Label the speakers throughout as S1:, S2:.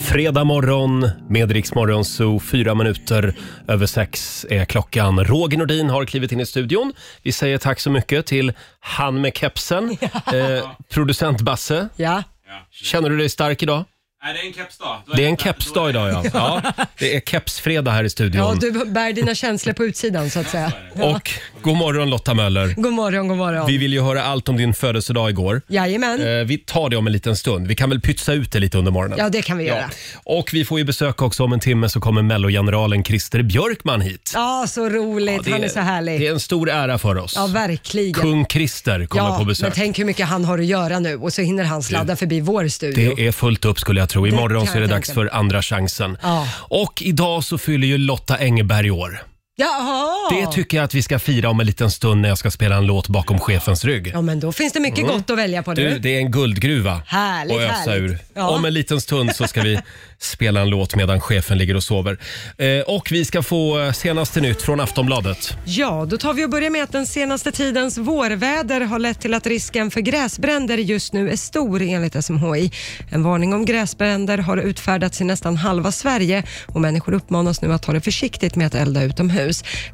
S1: Fredag morgon med Rix Morgon Zoo. Fyra minuter över sex är klockan. Roger Nordin har klivit in i studion. Vi säger tack så mycket till han med kepsen, eh, producent Basse.
S2: Ja.
S1: Känner du dig stark idag?
S3: Nej, det är en kepsdag.
S1: Det är en kepsdag idag ja. ja. Det är kepsfredag här i
S2: ja,
S1: studion.
S2: du bär dina känslor på utsidan så att säga.
S1: Och god morgon Lotta Möller.
S2: God morgon, god morgon.
S1: Vi vill ju höra allt om din födelsedag igår.
S2: Jajamän.
S1: Eh, Vi tar det om en liten stund. Vi kan väl pytsa ut det lite under morgonen.
S2: Ja, det kan vi göra.
S1: Och vi får ju besök också om en timme så kommer mellogeneralen Christer Björkman hit.
S2: Ja, så roligt. han är så härlig.
S1: Det är en stor ära för oss.
S2: Ja, verkligen.
S1: Kung Christer kommer
S2: ja,
S1: på
S2: men
S1: besök.
S2: tänk hur mycket han har att göra nu och så hinner han sladda förbi vår studio.
S1: Det är fullt upp skulle jag tro. Imorgon så
S2: kan
S1: är det
S2: jag
S1: dags
S2: tänka
S1: för
S2: mig.
S1: andra chansen.
S2: Ja.
S1: Och idag så fyller ju Lotta Engberg år.
S2: Jaha!
S1: Det tycker jag att vi ska fira om en liten stund när jag ska spela en låt bakom chefens rygg. Mm.
S2: ja, men då finns det mycket gott att välja på nu.
S1: Du, det är en guldgruva
S2: Härligt,
S1: att ösa
S2: härligt.
S1: ur.
S2: Ja.
S1: Om en liten stund så ska vi spela en låt medan chefen ligger och sover. Eh, och vi ska få eh, senaste nytt från Aftonbladet.
S2: Ja, då tar vi och börjar med att den senaste tidens vårväder har lett till att risken för gräsbränder just nu är stor enligt SMHI. En varning om gräsbränder har utfärdats i nästan halva Sverige och människor uppmanas nu att ta det försiktigt med att elda utomhus.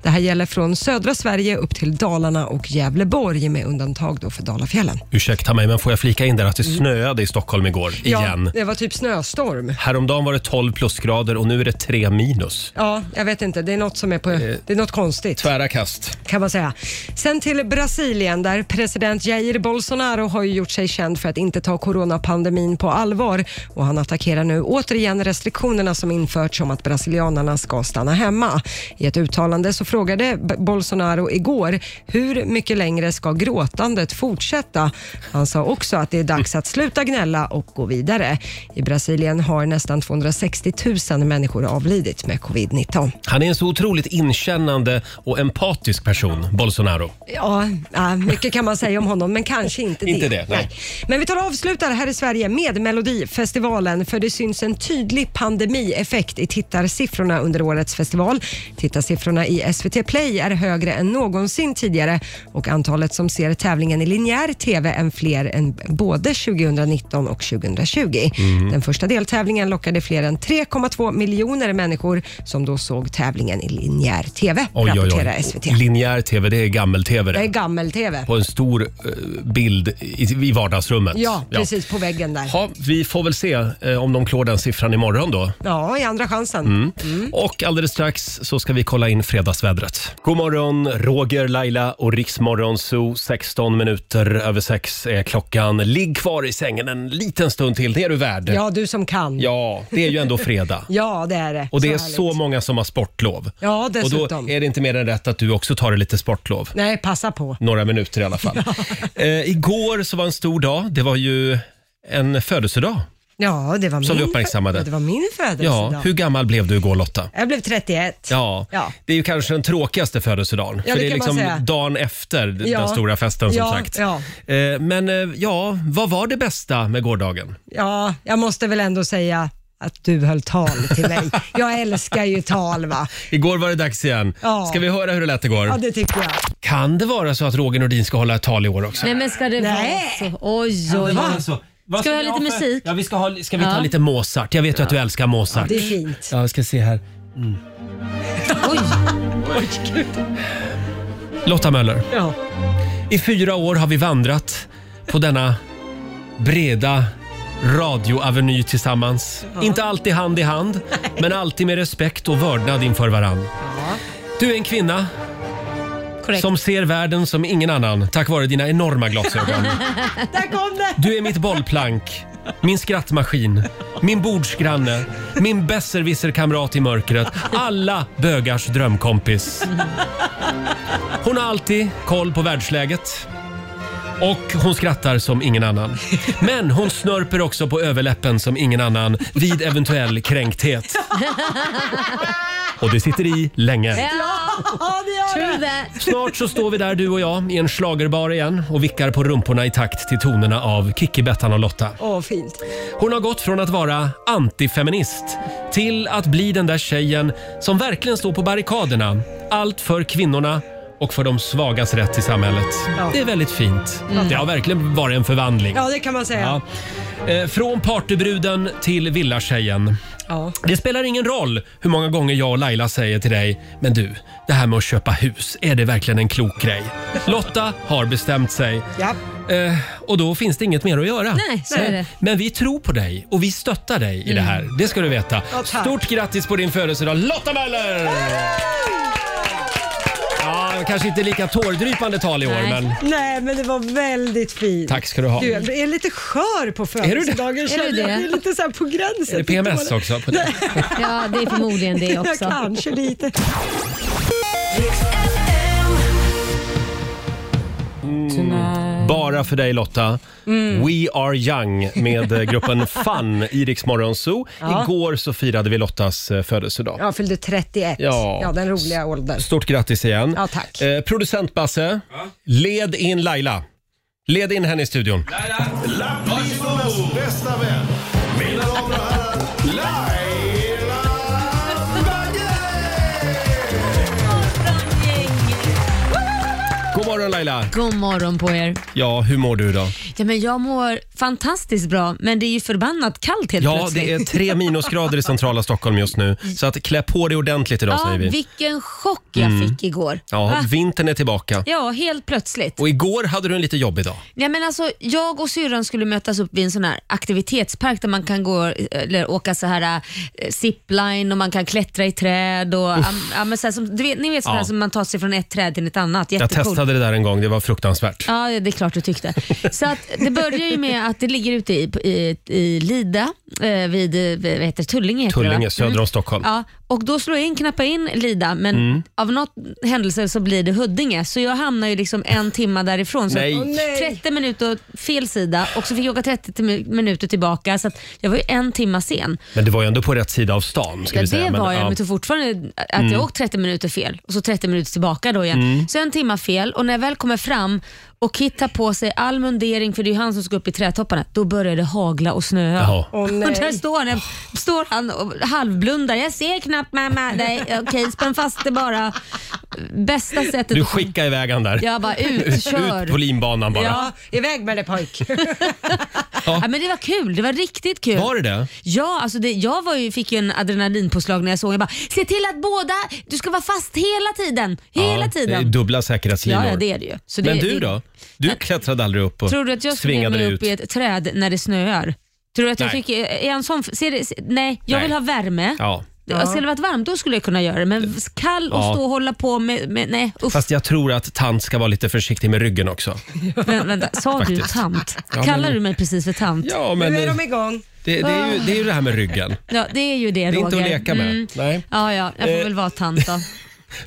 S2: Det här gäller från södra Sverige upp till Dalarna och Gävleborg med undantag då för Dalafjällen.
S1: Ursäkta mig, men får jag flika in där att det snöade i Stockholm igår igen.
S2: Mm. Ja, det var typ snöstorm.
S1: Häromdagen var det 12 plusgrader och nu är det 3 minus.
S2: Ja, jag vet inte. Det är något som är på... Det är något konstigt.
S1: Eh, Tvära kast.
S2: kan man säga. Sen till Brasilien där president Jair Bolsonaro har ju gjort sig känd för att inte ta coronapandemin på allvar och han attackerar nu återigen restriktionerna som införts om att brasilianarna ska stanna hemma. I ett uttalande så frågade B- Bolsonaro igår hur mycket längre ska gråtandet fortsätta? Han sa också att det är dags att sluta gnälla och gå vidare. I Brasilien har nästan 260 000 människor avlidit med covid-19.
S1: Han är en så otroligt inkännande och empatisk person, Bolsonaro.
S2: Ja, ja, mycket kan man säga om honom, men kanske inte det.
S1: Inte det, nej.
S2: Men vi tar och avslutar här i Sverige med Melodifestivalen, för det syns en tydlig pandemieffekt i tittarsiffrorna under årets festival. Tittarsiffrorna i SVT Play är högre än någonsin tidigare och antalet som ser tävlingen i linjär TV är fler än både 2019 och 2020. Den första deltävlingen lockade fler än 3,2 miljoner människor som då såg tävlingen i linjär TV, rapporterar SVT.
S1: Linjär TV, det är gammel-TV
S2: Det är
S1: det.
S2: gammel-tv.
S1: På en stor eh, bild i, i vardagsrummet.
S2: Ja, precis på väggen där.
S1: Ja, vi får väl se eh, om de klår den siffran imorgon då. Mm.
S2: Ja, i andra chansen. Mm.
S1: Och alldeles strax så ska vi kolla in fredagsvädret. God morgon, Roger, Laila och Riksmorgon Zoo. 16 minuter över sex är klockan. Ligg kvar i sängen en liten stund till, det är du värd.
S2: Ja, du som kan. Ja,
S1: Ja, det är ju ändå fredag.
S2: det är det.
S1: Och det är
S2: härligt.
S1: så många som har sportlov.
S2: Ja,
S1: Och
S2: dessutom.
S1: då är det inte mer än rätt att du också tar dig lite sportlov.
S2: Nej, passa på.
S1: Några minuter i alla fall. eh, igår så var en stor dag. Det var ju en födelsedag.
S2: Ja, det var min
S1: Som vi
S2: fö-
S1: uppmärksammade.
S2: Ja, det var min födelsedag.
S1: Ja, hur gammal blev du igår Lotta?
S2: Jag blev 31.
S1: Ja,
S2: Ja.
S1: det är ju kanske den tråkigaste födelsedagen.
S2: Ja,
S1: för
S2: det
S1: det är
S2: kan man
S1: liksom
S2: säga.
S1: dagen efter
S2: Ja.
S1: den stora festen som
S2: Ja,
S1: sagt.
S2: ja.
S1: Eh, Men eh, ja, vad var det bästa med gårdagen?
S2: Ja, jag måste väl ändå säga att du höll tal till mig. Jag älskar ju tal va.
S1: Igår var det dags igen.
S2: Ja.
S1: Ska vi höra hur det lät igår?
S2: Ja, det tycker jag.
S1: Kan det vara så att Roger Nordin ska hålla ett tal i år också?
S4: Nej men ska det
S2: Nej.
S4: vara så? Oj oj
S1: Va?
S4: oj. Ska vi ha lite musik?
S1: Ja, alltså, vi ska, ha, ska vi ta
S4: Ja.
S1: lite Mozart? Jag vet ju att du älskar Mozart.
S2: Det är fint.
S1: Ja, jag ska se här.
S4: oj.
S1: Lotta Möller,
S2: Ja.
S1: i fyra år har vi vandrat på denna breda radioaveny tillsammans. Inte alltid hand i hand, men alltid med respekt och vördnad inför varann. Du är en kvinna
S4: Korrekt.
S1: som ser världen som ingen annan tack vare dina enorma glasögon.
S2: Där kom det!
S1: Du är mitt bollplank, min skrattmaskin, min bordsgranne, min besserwisserkamrat i mörkret. Alla bögars drömkompis. Hon har alltid koll på världsläget. Och hon skrattar som ingen annan. Men hon snörper också på överläppen som ingen annan vid eventuell kränkthet. Och det sitter i länge.
S2: Ja, det gör
S4: True that.
S1: Snart så står vi där du och jag i en slagerbar igen och vickar på rumporna i takt till tonerna av Kikki, Bettan och Lotta.
S2: Åh, fint.
S1: Hon har gått från att vara antifeminist till att bli den där tjejen som verkligen står på barrikaderna. Allt för kvinnorna och för de svagas rätt i samhället.
S2: Ja. Mm.
S1: Det är väldigt fint. Det har verkligen varit en förvandling.
S2: Ja, det kan man säga. Ja.
S1: Ja. Eh, Från partybruden till villatjejen. Det spelar ingen roll hur många gånger jag och Laila säger till dig, men du, det här med att köpa hus, är det verkligen en klok grej? Lotta har bestämt sig.
S2: Ja.
S1: Eh, och då finns det inget mer att göra.
S4: Nej, så är det. Mm.
S1: Men vi tror på dig och vi stöttar dig i det här. Det ska du veta.
S2: Ja, tack.
S1: Stort grattis på din födelsedag Lotta Möller! Ja, kanske inte lika tårdrypande tal i år,
S4: Nej.
S1: men
S2: Nej, men det var väldigt fint.
S1: tack ska du ha.
S2: Du jag är lite skör på födelsedagen.
S4: Är du
S2: känner jag.
S4: det?
S2: Jag är lite så här på gränsen.
S1: Är det PMS
S2: Jag
S1: också? På det?
S4: Ja, det är förmodligen det
S2: Ja,
S4: också.
S2: kanske lite.
S1: Mm. Bara för dig Lotta.
S2: Mm.
S1: We are young med eh, gruppen Fun i Rix Morgon Zoo. Igår så firade vi Lottas eh, födelsedag.
S2: Jag fyllde 31.
S1: Ja.
S2: den roliga åldern.
S1: Stort grattis igen.
S2: Ja, tack.
S1: Eh, producent Basse, led in Laila. Led in henne i studion.
S3: Lapplisornas bästa vän. Mina damer och herrar, Laila Bagge!
S1: God morgon Laila.
S4: God morgon på er.
S1: Ja, hur mår du idag?
S4: Ja, men jag mår fantastiskt bra, men det är ju förbannat kallt helt
S1: Ja,
S4: plötsligt. Mm.
S1: det är tre minusgrader i centrala Stockholm just nu. Så att klä på dig ordentligt idag
S4: ja,
S1: säger vi. Mm.
S4: vilken chock jag fick igår.
S1: Ja,
S4: Va?
S1: vintern är tillbaka.
S4: ja, helt plötsligt.
S1: Och igår hade du en lite jobbig dag.
S4: Nej, men alltså, jag och syrran skulle mötas upp vid en sån här aktivitetspark där man kan gå eller åka så här eh, zipline och man kan klättra i träd. Och, am- ja, men så här, som, du vet, ni vet sådana
S1: Ja.
S4: här som man tar sig från ett träd till ett annat.
S1: Jag
S4: Jättecoolt.
S1: testade det där en gång, det var fruktansvärt.
S4: Ja, det är klart du tyckte. Så att det börjar ju med att det ligger ute i, i, i Lida, eh, vid eh, vad heter det? Tullinge. Heter det,
S1: Tullinge,
S4: va?
S1: söder om Stockholm.
S4: Ja, och då slår jag in, knappar in Lida, men
S1: Mm.
S4: av något händelse så blir det Huddinge. Så jag hamnar ju liksom en timme därifrån. Så
S1: Nej. Åh,
S2: nej.
S4: 30 minuter åt fel sida och så fick jag åka 30 tim- minuter tillbaka. Så att jag var ju en timme sen.
S1: Men det var ju ändå på rätt sida av stan. Ska
S4: Ja,
S1: vi
S4: det
S1: säga.
S4: var jag,
S1: ja. Mm.
S4: men jag tror fortfarande att jag åkt 30 minuter fel och så 30 minuter tillbaka då igen. Så en timma fel och när jag väl kommer fram och hittar på sig all mundering, för det är ju han som ska upp i trädtopparna, då börjar det hagla och snöa.
S1: Jaha.
S2: Åh, nej.
S4: Och där står han, står han och halvblundar. Jag ser knappt mamma. Nej, okej, spänn fast det bara. Bästa sättet...
S1: Du skickade iväg han där.
S4: Jag bara, ut, kör.
S1: Ut på linbanan bara.
S4: Ja.
S2: Ja, iväg med dig pojk.
S4: Ja, men det var kul. Det var riktigt kul.
S1: Var det det?
S4: Ja, alltså det, jag var ju, fick ju en adrenalinpåslag när jag såg Jag bara, se till att båda, du ska vara fast hela tiden. Hela
S1: Ja, det är
S4: tiden.
S1: Dubbla säkerhetslinor.
S4: Ja, ja, det är det ju. Så
S1: Men
S4: det,
S1: du då? Du klättrade aldrig upp och
S4: Tror du att jag skulle ge
S1: svingade
S4: mig
S1: dig
S4: upp
S1: ut?
S4: i ett träd när det snöar? Tror du att jag
S1: Nej.
S4: fick, eh, är jag en sån, ser det, ser- nej, jag
S1: Nej.
S4: vill ha värme.
S1: Ja. Eh,
S4: Ja. Skulle det varit varmt då skulle jag kunna göra det, men kall och
S1: Ja.
S4: stå och hålla på med, med nej usch.
S1: Fast jag tror att tant ska vara lite försiktig med ryggen också.
S4: Vä- vänta, sa du
S1: Faktiskt.
S4: tant?
S1: men-
S4: Kallar du mig precis för tant? Ja,
S1: Ja, men
S2: Nu är
S1: eh,
S2: de igång.
S1: det, det, är ju, det är ju det här med ryggen.
S4: det är ju det
S1: Det är
S4: Roger.
S1: inte att leka med. Eh.
S4: Mm.
S1: Nej.
S4: Ja, ja, jag får väl vara tant då.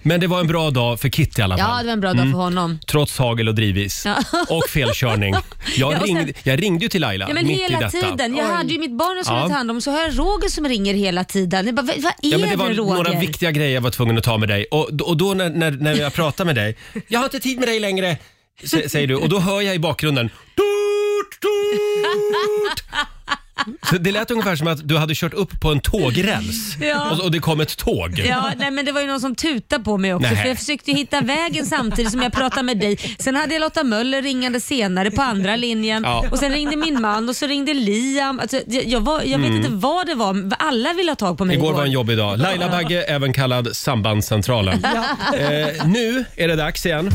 S1: Men det var en bra dag för Kitty i alla
S4: Ja,
S1: fall. Mm.
S4: det var en bra dag för honom.
S1: Trots hagel och drivis. Och felkörning. Jag,
S4: Ja, och sen-
S1: ringde, jag ringde ju till Laila
S4: Ja, men
S1: mitt i
S4: hela
S1: detta.
S4: tiden. Jag hade ju mitt barn som
S1: Ja.
S4: jag tar hand om så har jag Roger som ringer hela tiden. Jag bara, vad, vad är
S1: Ja, men det var
S4: det Roger?
S1: några viktiga grejer jag var tvungen att ta med dig. Och, och då när, när, när jag pratade med dig, jag har inte tid med dig längre, sä- säger du. Och då hör jag i bakgrunden, tut, tut. Så Det lät ungefär som att du hade kört upp på en tågräls
S4: Ja.
S1: och, och det kom ett tåg.
S4: Ja, nej, men det var ju någon som tutade på mig också
S1: Nej.
S4: för jag försökte ju hitta vägen samtidigt som jag pratade med dig. Sen hade jag Lotta Möller ringande senare på andra linjen
S1: Ja.
S4: och sen ringde min man och så ringde Liam. Alltså, jag jag, var, jag vet inte vad det var. Alla ville ha tag på mig
S1: Mm. Igår var en jobbig dag. Laila Bagge, även kallad Sambandscentralen. Eh, nu är det dags igen.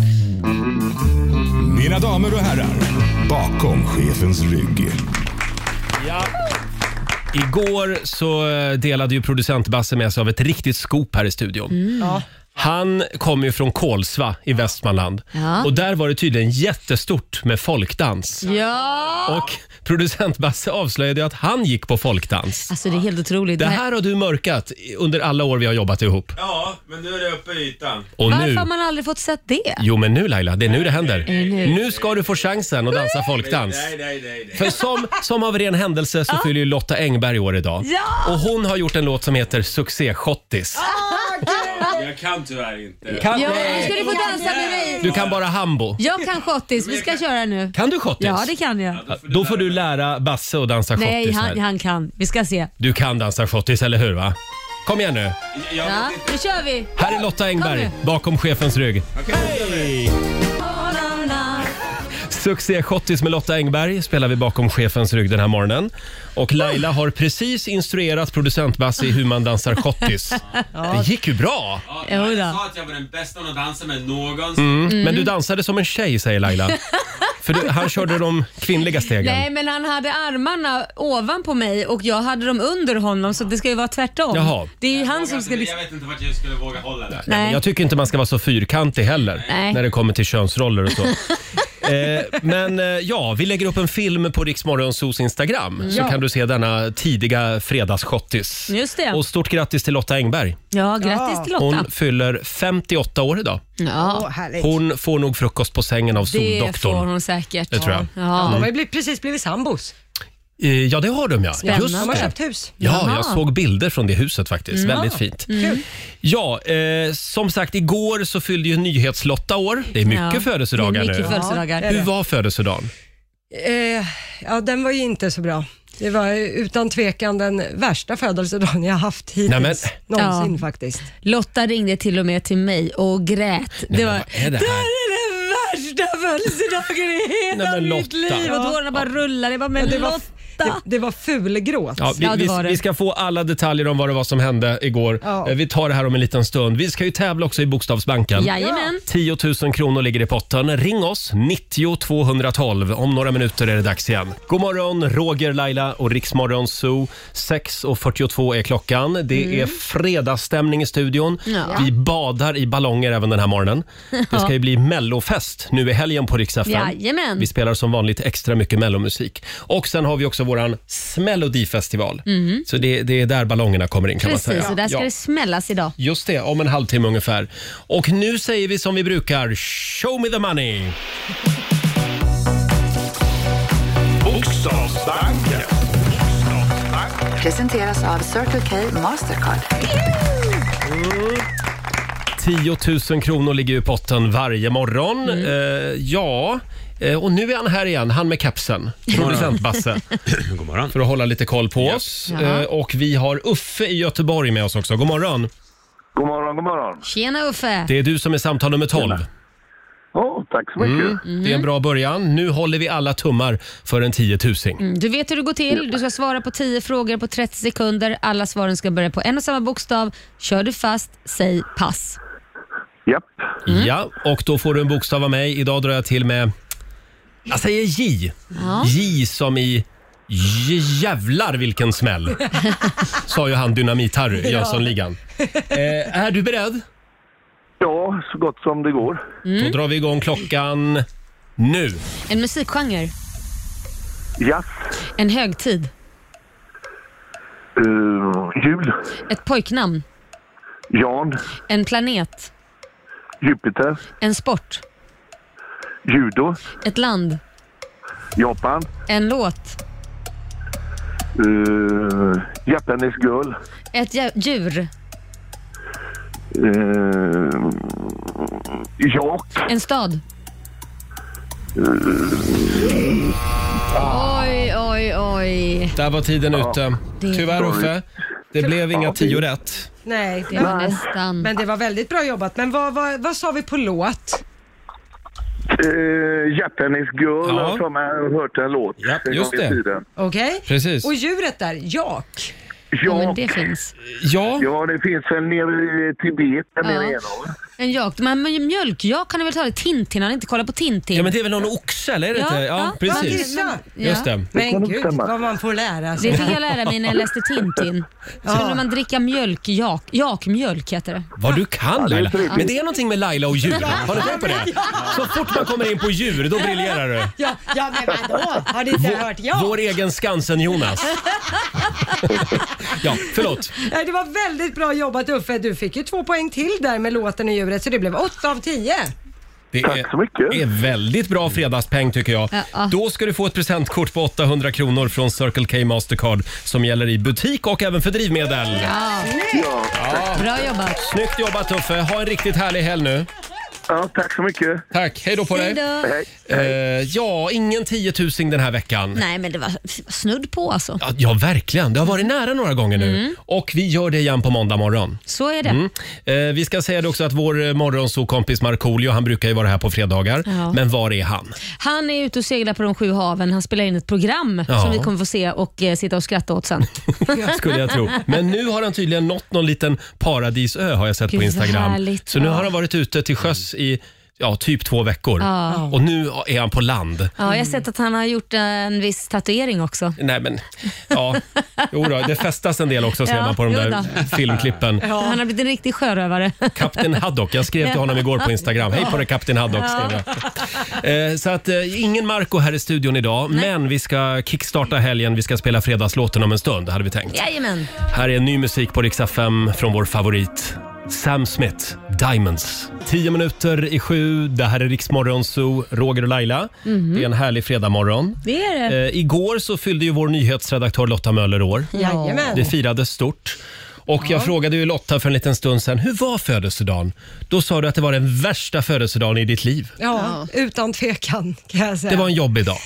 S3: Mina damer och herrar, bakom chefens rygg.
S1: Igår så eh, delade ju producent Basse med sig av ett riktigt skop här i studion.
S4: Mm.
S2: Ja.
S1: Han kom ju från Kolsva i Västmanland
S4: Ja.
S1: och där var det tydligen jättestort med folkdans.
S4: Ja!
S1: Och producent Basse avslöjade ju att han gick på folkdans.
S4: Alltså det är helt otroligt.
S1: Det här har du mörkat i- under alla år vi har jobbat ihop.
S5: Ja, men nu är det uppe i ytan.
S1: Och
S4: Varför
S1: nu...
S4: har man aldrig fått sett det?
S1: Jo men nu Laila, det är nu det händer.
S4: det nu?
S1: Nu ska du få chansen att dansa folkdans.
S5: Nej, nej, nej. nej.
S1: För som, som av ren händelse så fyller ju Lotta Engberg år idag.
S4: Ja!
S1: Och hon har gjort en låt som heter Succé-schottis.
S5: Jag kan tyvärr inte.
S1: Kan-
S4: Ja, nu ska du få dansa med mig.
S1: Du kan bara hambo.
S4: Jag kan schottis, vi ska köra nu.
S1: Kan du schottis?
S4: Ja, det kan jag.
S1: Då får du lära Basse att dansa
S4: Nej,
S1: schottis här.
S4: han, han kan. Vi ska se.
S1: Du kan dansa schottis, eller hur? va? Kom igen nu.
S5: Jag vet
S4: Ja,
S5: inte.
S4: nu kör vi!
S1: Här är Lotta
S4: Kom
S1: Engberg
S4: nu.
S1: bakom chefens rygg.
S5: Okej, nu kör vi.
S1: Succé Schottis med Lotta Engberg spelar vi bakom chefens rygg den här morgonen. Och Laila har precis instruerat producent Basse i hur man dansar schottis. Det gick ju bra!
S5: Ja,
S4: Jo då.
S5: jag sa att jag var den bästa att dansa med någonsin.
S1: Mm.
S4: Mm.
S1: Men du dansade som en tjej säger Laila. För du, han körde de kvinnliga stegen.
S4: Nej, men han hade armarna ovanpå mig och jag hade dem under honom så det ska ju vara tvärtom.
S1: Jaha.
S4: Det är ju han
S5: Jag
S4: som
S5: vågar
S4: ska...
S5: inte-
S4: Liksom...
S5: Jag vet inte vart jag skulle våga hålla det.
S4: Nej.
S1: Jag tycker inte man ska vara så fyrkantig heller
S4: Nej.
S1: när det kommer till könsroller och så. eh, men eh, ja, vi lägger upp en film på Riksmorgonsos Instagram så
S4: Ja.
S1: kan du se denna tidiga fredagsschottis.
S4: Just det.
S1: Och stort grattis till Lotta Engberg.
S4: Ja, grattis till Lotta.
S1: Hon fyller 58 år idag.
S4: Ja,
S2: Åh, härligt.
S1: Hon får nog frukost på sängen av
S4: det får
S1: Soldoktorn.
S4: hon säkert.
S1: Det tror jag. Mm.
S2: Ja,
S4: Ja.
S2: de har ju blivit- precis blivit sambos.
S1: Eh, Ja, det har de ja.
S4: Spännande.
S1: Just
S2: De har
S1: det.
S2: köpt hus.
S1: Ja, jag
S4: Jaha. Mm.
S1: såg bilder från det huset faktiskt. Väldigt fint.
S2: Kul.
S1: Ja, eh, som sagt, igår så fyllde ju Nyhetslotta år. Det är mycket
S4: Ja.
S1: födelsedagar
S4: Det är
S1: nu.
S4: mycket födelsedagar.
S2: Ja,
S1: Hur var födelsedagen?
S2: Eh, ja, den var ju inte så bra. Det var ju utan tvekan den värsta födelsedagen jag haft hittills.
S1: Nej, men-
S2: Någonsin
S4: Ja.
S2: faktiskt.
S4: Lotta ringde till och med till mig och grät.
S1: men
S4: det var,
S1: vad är det här?"
S4: är den värsta födelsedagen i hela
S1: Nej, men
S4: mitt
S1: Lotta.
S4: liv. Och tårarna bara rullade. Jag bara, men
S2: det var-
S4: Lotta.
S2: Det, det var fulgråt.
S1: Ja, vi,
S4: Ja, det
S1: vi,
S4: var det.
S1: vi ska få alla detaljer om vad det var som hände igår.
S2: Ja.
S1: Eh, Vi tar det här om en liten stund. Vi ska ju tävla också i Bokstavsbanken.
S4: Jajamän.
S1: 10 000 kronor ligger i potten. Ring oss, 90 212. Om några minuter är det dags igen. God morgon, Roger, Laila och Riksmorgon Zoo. 6.42 är klockan. Det är fredagsstämning i studion.
S4: Ja.
S1: Vi badar i ballonger även den här morgonen. Det ska ju bli mellofest nu i helgen på Rix FM.
S4: Jajamän.
S1: Vi spelar som vanligt extra mycket mellomusik. Och sen har vi också våran smällodifestival. Så det, det är där ballongerna kommer in kan man
S4: Mhm. Precis,
S1: säga.
S4: och där ska
S1: Ja.
S4: det smällas idag.
S1: Just det, om en halvtimme ungefär. Och nu säger vi som vi brukar, show me the money!
S3: Bokstavsbanken.
S6: Presenteras av Circle K Mastercard.
S1: 10 000 kronor ligger ju i potten varje morgon.
S4: Mm.
S1: Eh, ja, eh, och nu är han här igen, han med kepsen. Producent Basse,
S5: God morgon.
S1: för att hålla lite koll på oss. Eh, och vi har Uffe i Göteborg med oss också. God morgon!
S7: God morgon, god morgon.
S4: Tjena Uffe.
S1: Det är du som är samtal nummer 12.
S7: Oh, tack så mycket.
S1: Det är en bra början. Nu håller vi alla tummar för en tiotusing.
S4: Mm, Du vet hur det går till. Du ska svara på 10 frågor på 30 sekunder. Alla svaren ska börja på en och samma bokstav. Kör du fast, säg pass.
S7: Japp.
S1: Mm. Ja, och då får du en bokstav av mig. Idag drar jag till med... Jag säger J. J som i j- jävlar vilken smäll. Sa ju han Dynamit-Harry i Jönssonligan. Eh, är du beredd?
S7: Ja, så gott som det går.
S1: Då drar vi igång klockan nu.
S4: En musikgenre,
S7: Jazz.
S4: en högtid,
S7: eh, jul.
S4: ett pojknamn,
S7: Jan.
S4: en planet,
S7: Jupiter.
S4: en sport,
S7: Judo.
S4: ett land,
S7: Japan.
S4: en låt,
S7: eh, Japanese girl.
S4: ett djä- djur,
S7: Uh, jak.
S4: en stad.
S1: Ah.
S4: Oj, oj, oj.
S1: Där var tiden ute.
S4: Det-
S1: Tyvärr Uffe, det blev inga
S7: Ja,
S1: tio rätt.
S2: Nej,
S4: Det var nästan.
S2: men det var väldigt bra jobbat. Men vad, vad, vad sa vi på låt?
S7: eh, Japanese girl
S1: Ja.
S7: har jag har hört en låt.
S1: Japp,
S7: en
S1: just
S7: gång i
S1: det.
S7: Tiden.
S2: Okej?
S1: Precis.
S2: Och djuret där, jak.
S4: Ja,
S7: Ja,
S4: men det finns.
S1: Ja,
S7: ja, det finns väl nere i Tibet. Där
S4: Ja.
S7: nere igenom.
S4: En jak. Men men mjölkjak kan du väl ta det? Tintin, han inte kollat på Tintin.
S1: ja men det är väl någon oxe eller? Är det
S4: Ja,
S1: inte? ja
S4: ja.
S1: precis.
S2: Ja.
S1: Just det.
S2: Men
S7: nog
S2: gud,
S7: stämma.
S2: vad man får lära sig.
S4: Det fick jag lära mig när jag läste Tintin. Skulle man dricka mjölkjak, jakmjölk heter det.
S1: Vad du kan Laila.
S7: trevligt.
S1: Men det är någonting med Laila och djur. Har du tänkt på det? Så fort man kommer in på djur, då briljerar du.
S2: Ja, ja, men vadå? Har ni inte hört jak?
S1: Vår egen Skansen-Jonas. ja, förlåt.
S2: Nej, det var väldigt bra jobbat Uffe. Du fick ju två poäng till där med låten och djuret, så det blev åtta av tio.
S1: Det
S7: Tack så mycket.
S1: är väldigt bra fredagspeng tycker jag.
S4: Ja, ja.
S1: Då ska du få ett presentkort på 800 kronor från Circle K Mastercard som gäller i butik och även för drivmedel.
S7: Ja.
S4: Bra jobbat.
S1: Snyggt jobbat Uffe. Ha en riktigt härlig helg nu.
S7: Ja, tack så mycket.
S1: Tack, hej då på dig.
S4: Hej då.
S7: Hej.
S1: Eh, ja, ingen tiotusing den här veckan.
S4: Nej, men det var f- snudd på alltså.
S1: Ja, ja, verkligen. Det har varit nära några gånger nu. Och vi gör det igen på måndag morgon.
S4: Mm. Så är det.
S1: Eh, vi ska säga det också att vår eh, morgonsokompis Markoolio, han brukar ju vara här på fredagar.
S4: Ja.
S1: Men var är han?
S4: Han är ute och seglar på de sju haven. Han spelar in ett program
S1: Ja.
S4: som vi kommer få se och eh, sitta och skratta åt sen.
S1: Skulle jag tro. Men nu har han tydligen nått någon liten paradisö har jag sett
S4: Gud,
S1: på
S4: vad
S1: Instagram.
S4: härligt.
S1: Så nu
S4: Ja.
S1: har han varit ute till sjöss i ja, typ två veckor. Och nu är han på land.
S4: Ja, jag har sett att han har gjort en viss tatuering också.
S1: Nej men, ja. Jo då, det festas en del också ser
S4: Ja,
S1: man på de
S4: jo
S1: där
S4: då.
S1: filmklippen.
S4: Han har blivit en riktig sjörövare.
S1: Kapten Haddock. Jag skrev till honom igår på Instagram. Hej på dig Kapten Haddock skrev jag. Eh, Så att eh, ingen Marco här i studion idag, men vi ska kickstarta helgen. Vi ska spela fredagslåten om en stund, hade vi tänkt.
S4: Jajamän.
S1: Här är ny musik på Rix FM från vår favorit Sam Smith, Diamonds. Tio minuter i sju, det här är Riksmorgon Zoo, Roger och Laila. Det är en härlig fredagmorgon.
S4: Det är det.
S1: Eh, igår så fyllde ju vår nyhetsredaktör Lotta Möller år.
S2: Jajamän.
S1: Det firades stort. Och jag frågade ju Lotta för en liten stund sedan, hur var födelsedagen? Då sa du att det var den värsta födelsedagen i ditt liv.
S2: Ja, utan tvekan kan jag säga.
S1: Det var en jobbig dag.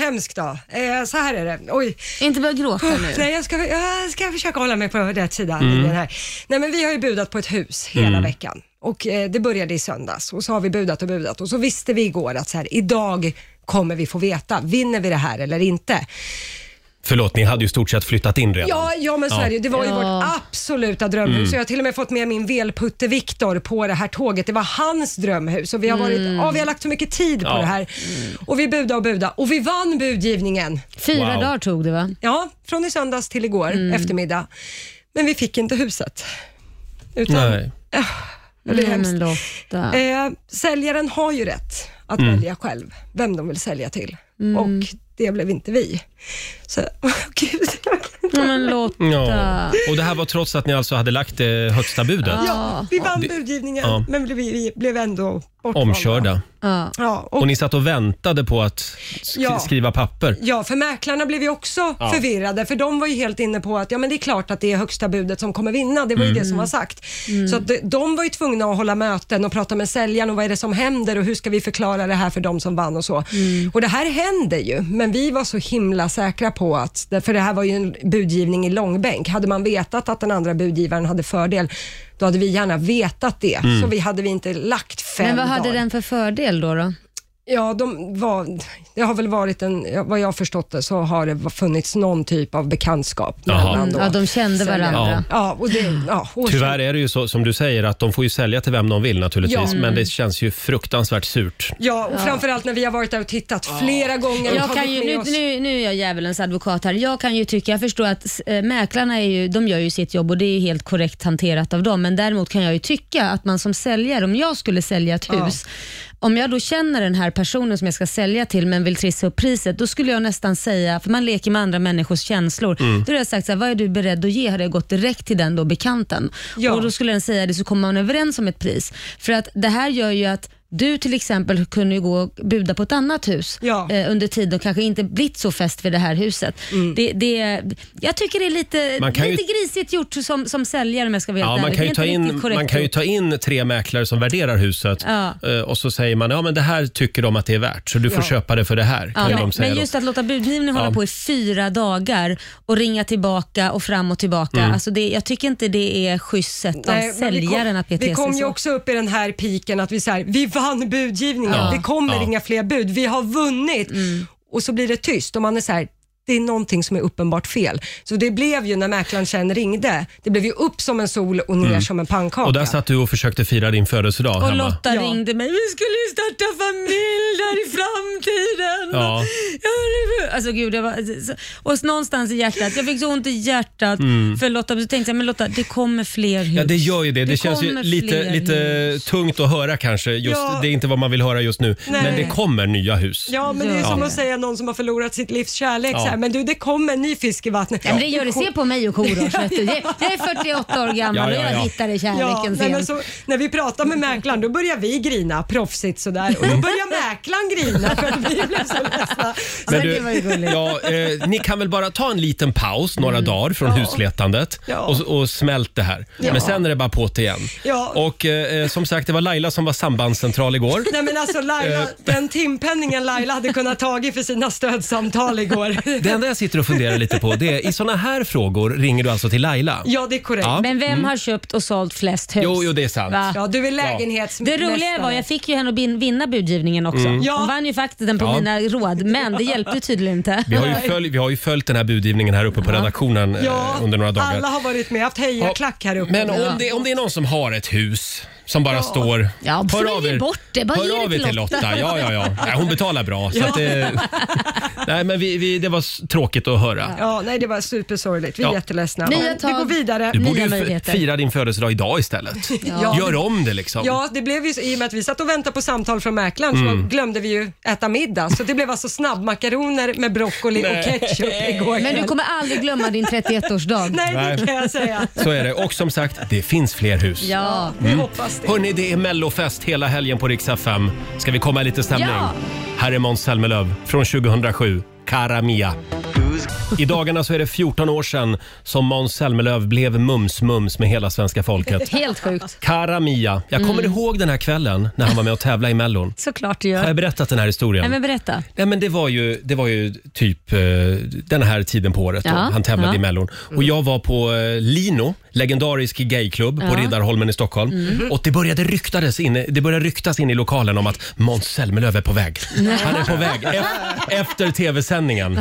S2: hemsk dag. Eh, så här är det. Oj.
S4: Inte börja gråta nu.
S2: Nej, jag ska, jag ska försöka hålla mig på rätt sida. i Den här. Nej, men vi har ju budat på ett hus hela veckan och eh, det började i söndags och så har vi budat och budat och så visste vi igår att så här, idag kommer vi få veta, vinner vi det här eller inte?
S1: Förlåt, ni hade ju i stort sett flyttat in redan.
S2: Ja, ja men så
S1: Ja.
S2: är det ju. Det var ju
S4: Ja.
S2: vårt absoluta drömhus.
S1: Mm.
S2: Så jag har till och med fått med min velputte Viktor på det här tåget. Det var hans drömhus och vi har, varit,
S4: Mm.
S2: ja, vi har lagt så mycket tid på
S1: Ja.
S2: det här. Och vi budade och budade och vi vann budgivningen.
S4: Fyra
S1: Wow.
S4: dagar tog det va? Mm.
S2: Ja, från i söndags till igår eftermiddag. Men vi fick inte huset. Utan,
S1: Nej.
S2: och det är
S4: Nej,
S2: hemskt.
S4: men Mm, Lotta.
S2: Eh, säljaren har ju rätt att
S1: Mm.
S2: välja själv vem de vill sälja till.
S4: Mm.
S2: Och det blev inte vi. Så, gud.
S4: Nej, men Lotta.
S1: Ja. Och det här var trots att ni alltså hade lagt det högsta budet.
S2: Ja, vi vann budgivningen,
S1: ja.
S2: men blev- vi blev ändå bortvalda.
S1: Omkörda.
S4: Ja.
S2: Ja, och,
S1: Och ni satt och väntade på att sk-
S2: Ja.
S1: skriva papper.
S2: ja, för mäklarna blev ju också
S1: Ja.
S2: förvirrade, för de var ju helt inne på att ja, men det är klart att det är högsta budet som kommer vinna. Det var ju det
S1: Mm.
S2: som var sagt. Så att de- de var ju tvungna att hålla möten och prata med säljaren och vad är det som händer och hur ska vi förklara det här för de som vann och så. Och det här händer ju, men vi var så himla säkra på att, för det här var ju en budgivning i långbänk. Hade man vetat att den andra budgivaren hade fördel, då hade vi gärna vetat det. Så vi hade vi inte lagt fem
S4: Men vad hade
S2: dagar.
S4: den för fördel då? då?
S2: Ja, de var, det har väl varit en, ja, vad jag har förstått det, så har det funnits någon typ av bekantskap
S1: Jaha.
S2: mellan då.
S4: Mm. Ja, de kände varandra.
S2: Ja, och det, ja, och
S1: Tyvärr är det ju så som du säger att de får ju sälja till vem de vill naturligtvis. Men
S4: Mm.
S1: det känns ju fruktansvärt surt.
S2: Ja, och framförallt när vi har varit där och tittat flera gånger. och
S4: Jag
S2: tagit
S4: kan ju,
S2: med
S4: nu,
S2: oss-
S4: nu, nu är jag djävulens advokat här. Jag kan ju tycka, jag förstår att eh, mäklarna är ju, de gör ju sitt jobb och det är helt korrekt hanterat av dem. Men däremot kan jag ju tycka att man som säljare, om jag skulle sälja ett hus, om jag då känner den här personen som jag ska sälja till men vill trissa upp priset, då skulle jag nästan säga, för man leker med andra människors känslor,
S1: Mm.
S4: då hade jag sagt så här, vad är du beredd att ge? Hade jag gått direkt till den då bekanten
S2: Ja.
S4: och då skulle den säga det så kommer man överens om ett pris. För att det här gör ju att du till exempel kunde ju gå och buda på ett annat hus
S2: Ja.
S4: eh, under tiden och kanske inte blivit så fäst vid det här huset. Det, det, jag tycker det är lite,
S1: Mm. Man kan ju-
S4: lite grisigt gjort som, som säljare om jag ska vara
S1: Ja,
S4: helt
S1: man,
S4: ärlig.
S1: kan ju
S4: Det
S1: ta
S4: är inte
S1: in,
S4: riktigt korrekt
S1: man kan ju
S4: gjort.
S1: ta in tre mäklare som värderar huset
S4: Ja.
S1: Eh, och så säger man ja men det här tycker de att det är värt så du får
S2: Ja.
S1: köpa det för det här. Kan
S4: Ja,
S1: ju
S4: men,
S1: de säga
S4: men
S1: då.
S4: just att låta budgivningen hålla på i fyra dagar och ringa tillbaka och fram och tillbaka.
S1: Mm.
S4: Alltså det, jag tycker inte det är schysst sätt av
S2: Nej, men vi kom-
S4: säljaren att bete
S2: Vi
S4: sig
S2: kom ju
S4: så.
S2: också upp i den här piken att vi så här, vi vann budgivningen.
S1: Ja.
S2: Det kommer
S1: Ja.
S2: inga fler bud. Vi har vunnit. Och så blir det tyst och man är så här, det är någonting som är uppenbart fel. Så det blev ju när mäklaren sen ringde, det blev ju upp som en sol och ner som en pannkaka.
S1: Och där satt du och försökte fira din födelsedag
S4: Och
S1: hemma.
S4: Lotta
S2: Ja.
S4: ringde mig. Vi skulle ju starta familj där i framtiden.
S1: Ja.
S4: Ja. Alltså gud, jag var, så- och någonstans i hjärtat. Jag fick så ont i hjärtat för Lotta. Så tänkte jag, men Lotta, det kommer fler hus.
S1: Mm. Ja, det gör ju det. Det, känns ju
S4: kommer
S1: lite,
S4: fler
S1: lite
S4: hus.
S1: tungt att höra kanske. Just,
S2: Ja.
S1: Det är inte vad man vill höra just nu.
S2: Nej.
S1: Men det kommer nya hus.
S2: Ja, men det är
S4: Ja.
S2: som att säga någon som har förlorat sitt livs kärlek.
S1: Ja.
S2: Så här, men du det kommer ny fisk i vattnet.
S4: Nej, men det gör det. Se på mig och Korosh. vet du. Det- Jag är 48 år gammal
S1: Ja, ja,
S4: och
S1: ja.
S4: jag hittade
S2: Ja,
S4: kärleken
S2: nej, men
S4: sent.
S2: så, när vi pratar med mäklaren då börjar vi grina proffsigt sådär och då
S1: Mm.
S2: börjar mäklaren grina för att vi blev så ledsna. Så
S1: Men
S2: Alltså, det
S1: du,
S2: var ju gulligt. Mm.
S1: ja, eh, ni kan väl bara ta en liten paus några dagar från husletandet
S2: Ja.
S1: och, och smält det här. Men sen är det bara på det igen.
S2: Ja.
S1: Och eh, som sagt, det var Laila som var sambandscentral igår.
S2: Nej men alltså
S1: Eh.
S2: Laila, den timpenningen Laila hade kunnat tagit för sina stödsamtal igår.
S1: Det enda jag sitter och funderar lite på det är, i såna här frågor ringer du alltså till Laila?
S2: Ja det är korrekt.
S1: Ja. Mm.
S2: Ja,
S4: Men vem har köpt och sålt flest hus?
S1: Jo, jo, det är sant.
S4: Va?
S2: du är lägenhetsmästare.
S4: Det roliga var, jag fick ju henne att bin- vinna budgivningen också.
S2: Ja.
S4: Hon vann ju faktiskt den på
S1: Mm. Ja.
S4: mina råd, men det hjälpte tydligen inte.
S1: Vi har, ju följ, vi har ju följt den här budgivningen här uppe på redaktionen eh,
S2: Ja,
S1: under några dagar.
S2: alla har varit med, haft hejaklack här uppe.
S1: Men om det, om det är någon som har ett hus som bara står...
S4: Ja, får man ge bort det. Bara ge
S1: hör
S4: det
S1: av er
S4: till
S1: till Lotta.
S4: Lotta.
S1: Ja, ja, ja. Nej, hon betalar bra. Så att det, nej, men vi, vi, det var s- tråkigt att höra.
S2: Ja, nej det var supersorgligt. Vi är
S1: Ja.
S2: jätteledsna.
S4: Nya
S2: Men Vi
S4: tag.
S2: går vidare.
S1: Du borde
S4: Nya
S1: ju f-
S4: möjligheter.
S1: fira din födelsedag idag istället.
S2: Ja.
S1: Gör om det liksom.
S2: Ja, det blev ju, så- i och med att vi satt och väntade på samtal från mäklaren
S1: Mm.
S2: så glömde vi ju äta middag. Så det blev alltså snabbmakaroner med broccoli och ketchup igår
S4: Men du
S2: kväll.
S4: kommer aldrig glömma din 31-årsdag.
S2: Nej, det
S1: Nej.
S2: kan jag säga. Mm.
S1: Så är det. Och som sagt, det finns fler hus.
S4: Ja.
S2: Vi hoppas det.
S1: Hörni, det är mellofest hela helgen på Rix FM. Ska vi komma i lite stämning?
S4: Ja.
S1: Här är Måns Zelmerlöw från 2007, Cara Mia. I dagarna så är det 14 år sedan som Måns Zelmerlöw blev mums-mums med hela svenska folket.
S4: Helt sjukt.
S1: Cara Mia. Jag kommer
S4: Mm.
S1: ihåg den här kvällen när han var med och tävla i Mellon.
S4: Såklart du
S1: Har
S4: gör.
S1: jag berättat den här historien?
S4: Nej, men berätta.
S1: Nej, men det, var ju, det var ju typ eh, den här tiden på året då.
S4: Ja,
S1: han tävlade
S4: ja. Mm.
S1: i Mellon. Och jag var på eh, Lino, legendarisk gayklubb på
S4: Ja. Mm.
S1: Riddarholmen i Stockholm. Och det började, ryktades in, det började ryktas in i lokalen om att Måns Zelmerlöw är på väg. Han är på väg. E efter tv-sändningen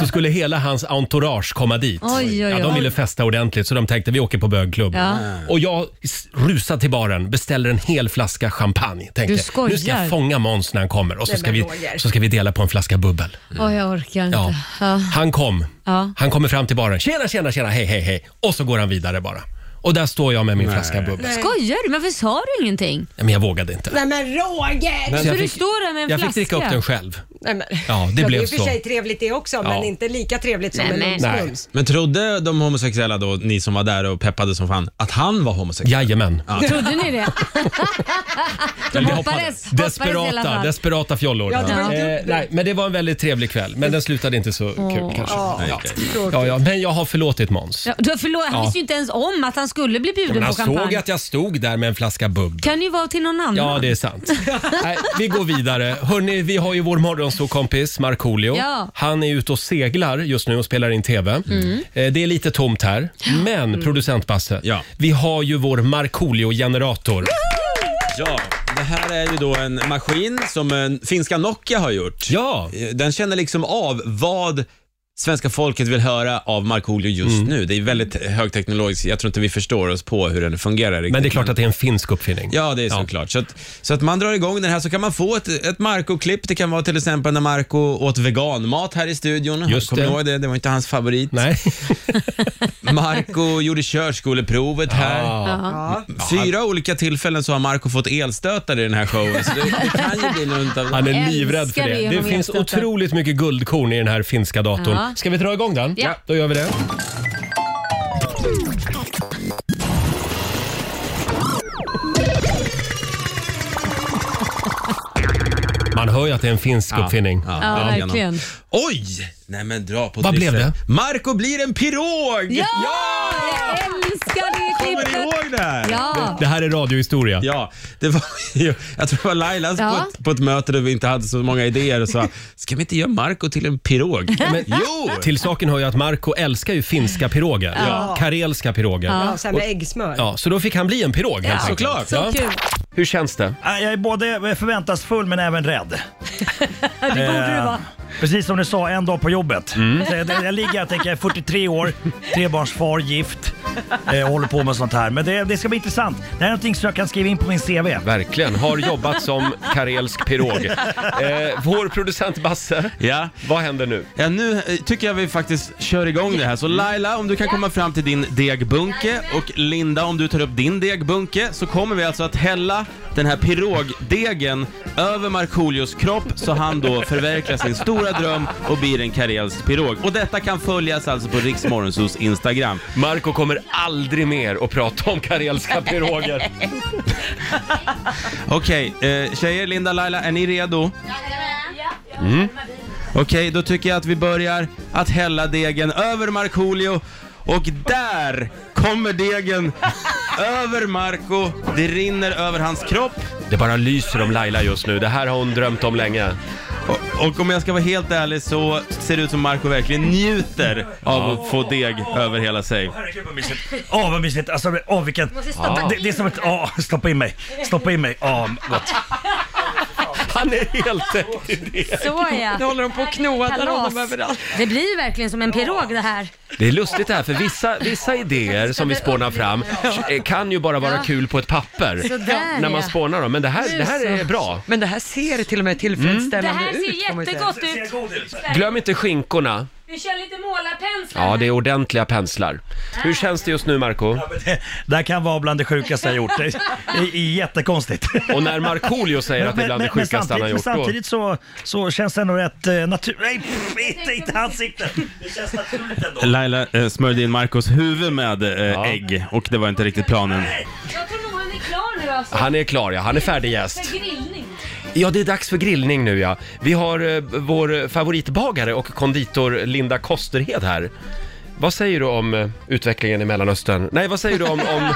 S1: så skulle hela hans entourage komma dit.
S4: Oj, oj,
S1: Ja, de
S4: oj.
S1: ville festa ordentligt så de tänkte vi åker på bögklubb.
S4: Ja.
S1: Och jag s- rusar till baren, beställer en hel flaska champagne. Tänkte,
S4: Du
S1: nu ska jag
S4: skojar.
S1: fånga Måns när han kommer och så
S2: Nej,
S1: ska,
S2: men
S1: vi,
S2: Roger.
S1: så ska vi dela på en flaska bubbel.
S4: Oj, jag orkar inte.
S1: Ja.
S4: Ja.
S1: Han kom.
S4: Ja.
S1: Han kommer fram till baren. Tjena, tjena, tjena, hej, hej, hej. Och så går han vidare bara. Och där står jag med min flaska bubbel. Nej.
S4: Skojar du? Men Varför sa du ingenting?
S1: Men jag vågade inte.
S2: Nej men Roger!
S1: Så
S4: Så
S1: jag
S4: du
S1: fick,
S4: står där med en
S1: jag fick
S4: flaska?
S1: dricka upp den själv.
S2: Nej, men.
S1: Ja, det blev
S2: är i och för
S1: så.
S2: sig trevligt det också, men inte lika trevligt som
S4: Nej, men-
S2: en
S1: Nej.
S2: mums
S5: Men trodde de homosexuella då, ni som var där och peppade som fan, att han var homosexuell?
S1: Jajamän.
S4: Trodde ni det? De
S1: Eller
S4: hoppades, hoppades i alla
S1: Desperata,
S4: fall.
S1: desperata fjollor.
S2: Ja, det var
S1: Eh,
S2: dubbel.
S1: nej, men det var en väldigt trevlig kväll, men den slutade inte så kul kanske. Ja. Ja, ja, men jag har förlåtit Måns.
S4: Ja, du har förlåt, han
S1: Ja.
S4: visste ju inte ens om att han skulle bli bjuden
S1: Men han
S4: på champagne.
S1: såg att jag stod där med en flaska bubbel.
S4: Kan ju vara till någon annan.
S1: Ja, det är sant. Nej, vi går vidare. Hörrni, vi har ju vår morgonsåkompis Markoolio.
S4: Ja. Mm.
S1: Han är ute och seglar just nu och spelar in TV. Eh, Det är lite tomt här, men producent Basse,
S5: Ja.
S1: vi har ju vår Markoolio-generator.
S5: Ja, det här är ju då en maskin som en finska Nokia har gjort.
S1: Ja,
S5: Eh, Den känner liksom av vad svenska folket vill höra av Markoolio just
S1: Mm.
S5: nu. Det är väldigt högteknologiskt. Jag tror inte vi förstår oss på hur den fungerar riktigt.
S1: men det är klart att det är en finsk uppfinning.
S5: Ja, det är såklart. Så, att, så att man drar igång den här så kan man få ett, ett Marco-klipp. Det kan vara till exempel när Marco åt veganmat här i studion.
S1: Just
S5: Kommer
S1: det.
S5: ni ihåg det? Det var inte hans favorit.
S1: Nej.
S5: Marco gjorde körskoleprovet här.
S1: Ja.
S5: Fyra olika tillfällen så har Marco fått elstötar i den här showen. Så det, det kan ju bli något av
S1: Han är
S4: Älskar
S1: livrädd för
S4: vi
S1: det.
S4: honom
S1: Det finns
S4: jätteofta.
S1: otroligt mycket guldkorn i den här finska datorn.
S4: Ja.
S1: Ska vi dra igång den?
S4: Ja.
S1: Då gör vi det. Man hör ju att det är en finsk uppfinning.
S5: Ja,
S4: Ja,
S5: det är
S4: verkligen.
S5: någon. Oj! Nej men dra på
S1: Vad
S5: drissen.
S1: blev det?
S5: Marco blir en pirog!
S4: Ja! Jag älskar det
S5: Kommer ni
S4: klippet!
S5: ihåg det här?
S4: Ja.
S1: Det här är radiohistoria.
S5: Ja, det var, ju- jag tror det var Lailas
S4: Ja.
S5: på, ett, på ett möte där vi inte hade så många idéer och sa, ska vi inte göra Marco till en pirog? Men, jo!
S1: Till saken hör ju att Marco älskar ju finska piroger. Karelska piroger.
S2: Ja, så här med äggsmör.
S1: Ja, så då fick han bli en pirog helt
S5: såklart.
S1: enkelt.
S4: Så kul.
S1: Hur känns det?
S8: Ja, Jag är både förväntansfull men även rädd.
S4: Ja, det borde det vara.
S1: Eh,
S8: Precis
S1: Mm.
S8: som du sa, en dag på jobbet. Så jag, jag ligger här och tänker, jag är 43 år, trebarnsfar, gift. eh, håller på med sånt här. Men det, det ska bli intressant. Det här är någonting som jag kan skriva in på min CV.
S1: Verkligen, har jobbat som karelsk pirog. Eh, vår producent Basse,
S5: Ja.
S1: vad händer nu?
S5: Ja, nu eh, tycker jag vi faktiskt kör igång det här. Så Laila, om du kan komma fram till din degbunke och Linda, om du tar upp din degbunke så kommer vi alltså att hälla den här pirogdegen över Markoolios kropp så han då förverkligar sin stora dröm och blir en karelsk pirog. Och detta kan följas alltså på Riksmorgonsos Instagram.
S1: Marco kommer aldrig mer att prata om karelska piroger.
S5: Okej, eh, tjejer, Linda, Laila, är ni redo? Mm. Okej, då tycker jag att vi börjar att hälla degen över Markoolio och där kommer degen över Marco. Det rinner över hans kropp
S1: Det bara lyser om Laila just nu. Det här har hon drömt om länge.
S5: och, och om jag ska vara helt ärlig så ser det ut som Marco verkligen njuter av att få deg över hela sig.
S8: Herregud vad mysigt. Åh vad mysigt. Alltså, åh vilken... Det, det är som ett... Åh, stoppa in mig. Stoppa in mig. Åh, gott.
S1: Han är helt täckt i det.
S4: Så ja.
S9: Nu håller de på och knoar honom överallt.
S4: Det blir ju verkligen som en pirog det här.
S1: Det är lustigt det här, för vissa, vissa idéer som vi spånar fram eh, kan ju bara vara kul på ett papper.
S4: Sådär,
S1: När man
S4: ja.
S1: spånar dem. Men det här, det här är bra.
S9: Men det här ser till och med
S4: Det
S9: tillfredsställande
S4: här
S9: ut.
S4: ser
S9: får man ju säga.
S4: jättegott ut.
S1: Glöm inte skinkorna.
S4: Vi kör lite målarpenslar.
S1: Mm. Ja, det är ordentliga penslar. Hur känns det just nu, Marco?
S8: Det här kan vara bland det sjukaste jag gjort. Det är, är jättekonstigt.
S1: Och när Markoolio säger att det är bland det sjukaste han har gjort,
S8: samtidigt, men
S1: då...
S8: samtidigt så, så känns det ändå rätt eh, naturligt. Nej, pff, inte, inte ansiktet! Det känns naturligt ändå.
S5: Laila eh, smörjde in Marcos huvud med eh,
S1: Ja.
S5: ägg och det var inte riktigt planen.
S4: Jag tror nog han är klar nu alltså.
S1: Han är klar, ja. Han är färdigjäst.
S4: För grillning.
S1: Ja, det är dags för grillning nu, ja. Vi har eh, vår favoritbagare och konditor Linda Kosterhed här. Vad säger du om eh, utvecklingen i Mellanöstern? Nej, vad säger du om, om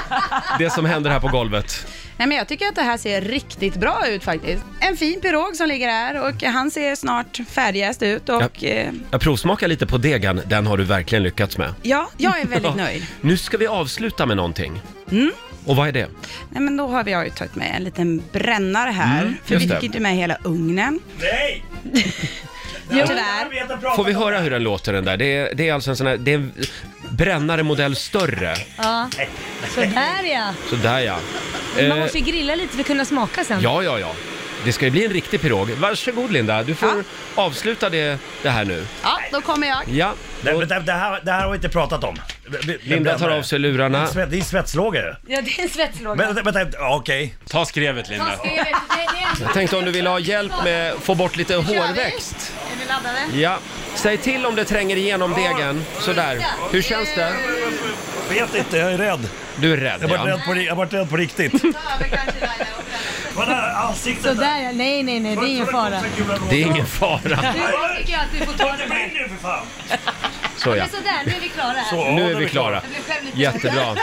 S1: det som händer här på golvet?
S10: Nej, men jag tycker att det här ser riktigt bra ut faktiskt. En fin pirog som ligger här och han ser snart färdigast ut och eh,
S1: Ja.
S10: ja,
S1: Jag provsmakar lite på degen. Den har du verkligen lyckats med.
S10: ja jag är väldigt nöjd. Mm.
S1: Nu ska vi avsluta med någonting. Och vad är det?
S10: Nej, men då har vi- jag har ju tagit med en liten brännare här, för
S1: Mm, just
S10: vi
S1: det.
S10: fick inte med hela ugnen.
S8: Nej!
S10: Tyvärr.
S1: Får vi höra hur den låter den där? Det är, det är alltså en sån här, det är en brännare modell större.
S4: Ja. Sådär ja.
S1: Sådär ja.
S4: Man
S1: Eh,
S4: måste ju grilla lite för att kunna smaka sen.
S1: ja, ja, ja. Det ska ju bli en riktig pirog. Varsågod Linda, du får avsluta det, det här nu.
S10: Ja, då kommer jag.
S1: Ja,
S8: Det,
S1: och
S8: det, det, här, det här har vi inte pratat om.
S1: Linda tar av sig lurarna.
S8: Det är en svetslåga ju.
S4: Ja, det är en svetslåga.
S8: Vänta, vänta, ja, okej.
S5: Ta skrevet Linda.
S1: Jag tänkte om du vill ha hjälp med att få bort lite hårväxt.
S10: Är ni laddade?
S1: Ja. Säg till om det tränger igenom degen. Sådär. Hur känns det?
S8: Vet inte, jag är rädd.
S1: Du är rädd
S8: Jag har varit
S1: ja.
S8: rädd på, ri- jag har varit rädd på riktigt. Vad är ansiktet
S4: Sådär ja. Nej, nej, nej. Det är ingen fara.
S1: Det är ingen fara.
S4: Nu tycker jag att du får ta det här.
S8: brinner för fan!
S1: Så ja.
S4: Men sådär, nu är vi klara här.
S8: Så,
S1: Nu
S8: ja,
S1: är vi klara.
S4: Jag blev själv lite-
S1: Jättebra.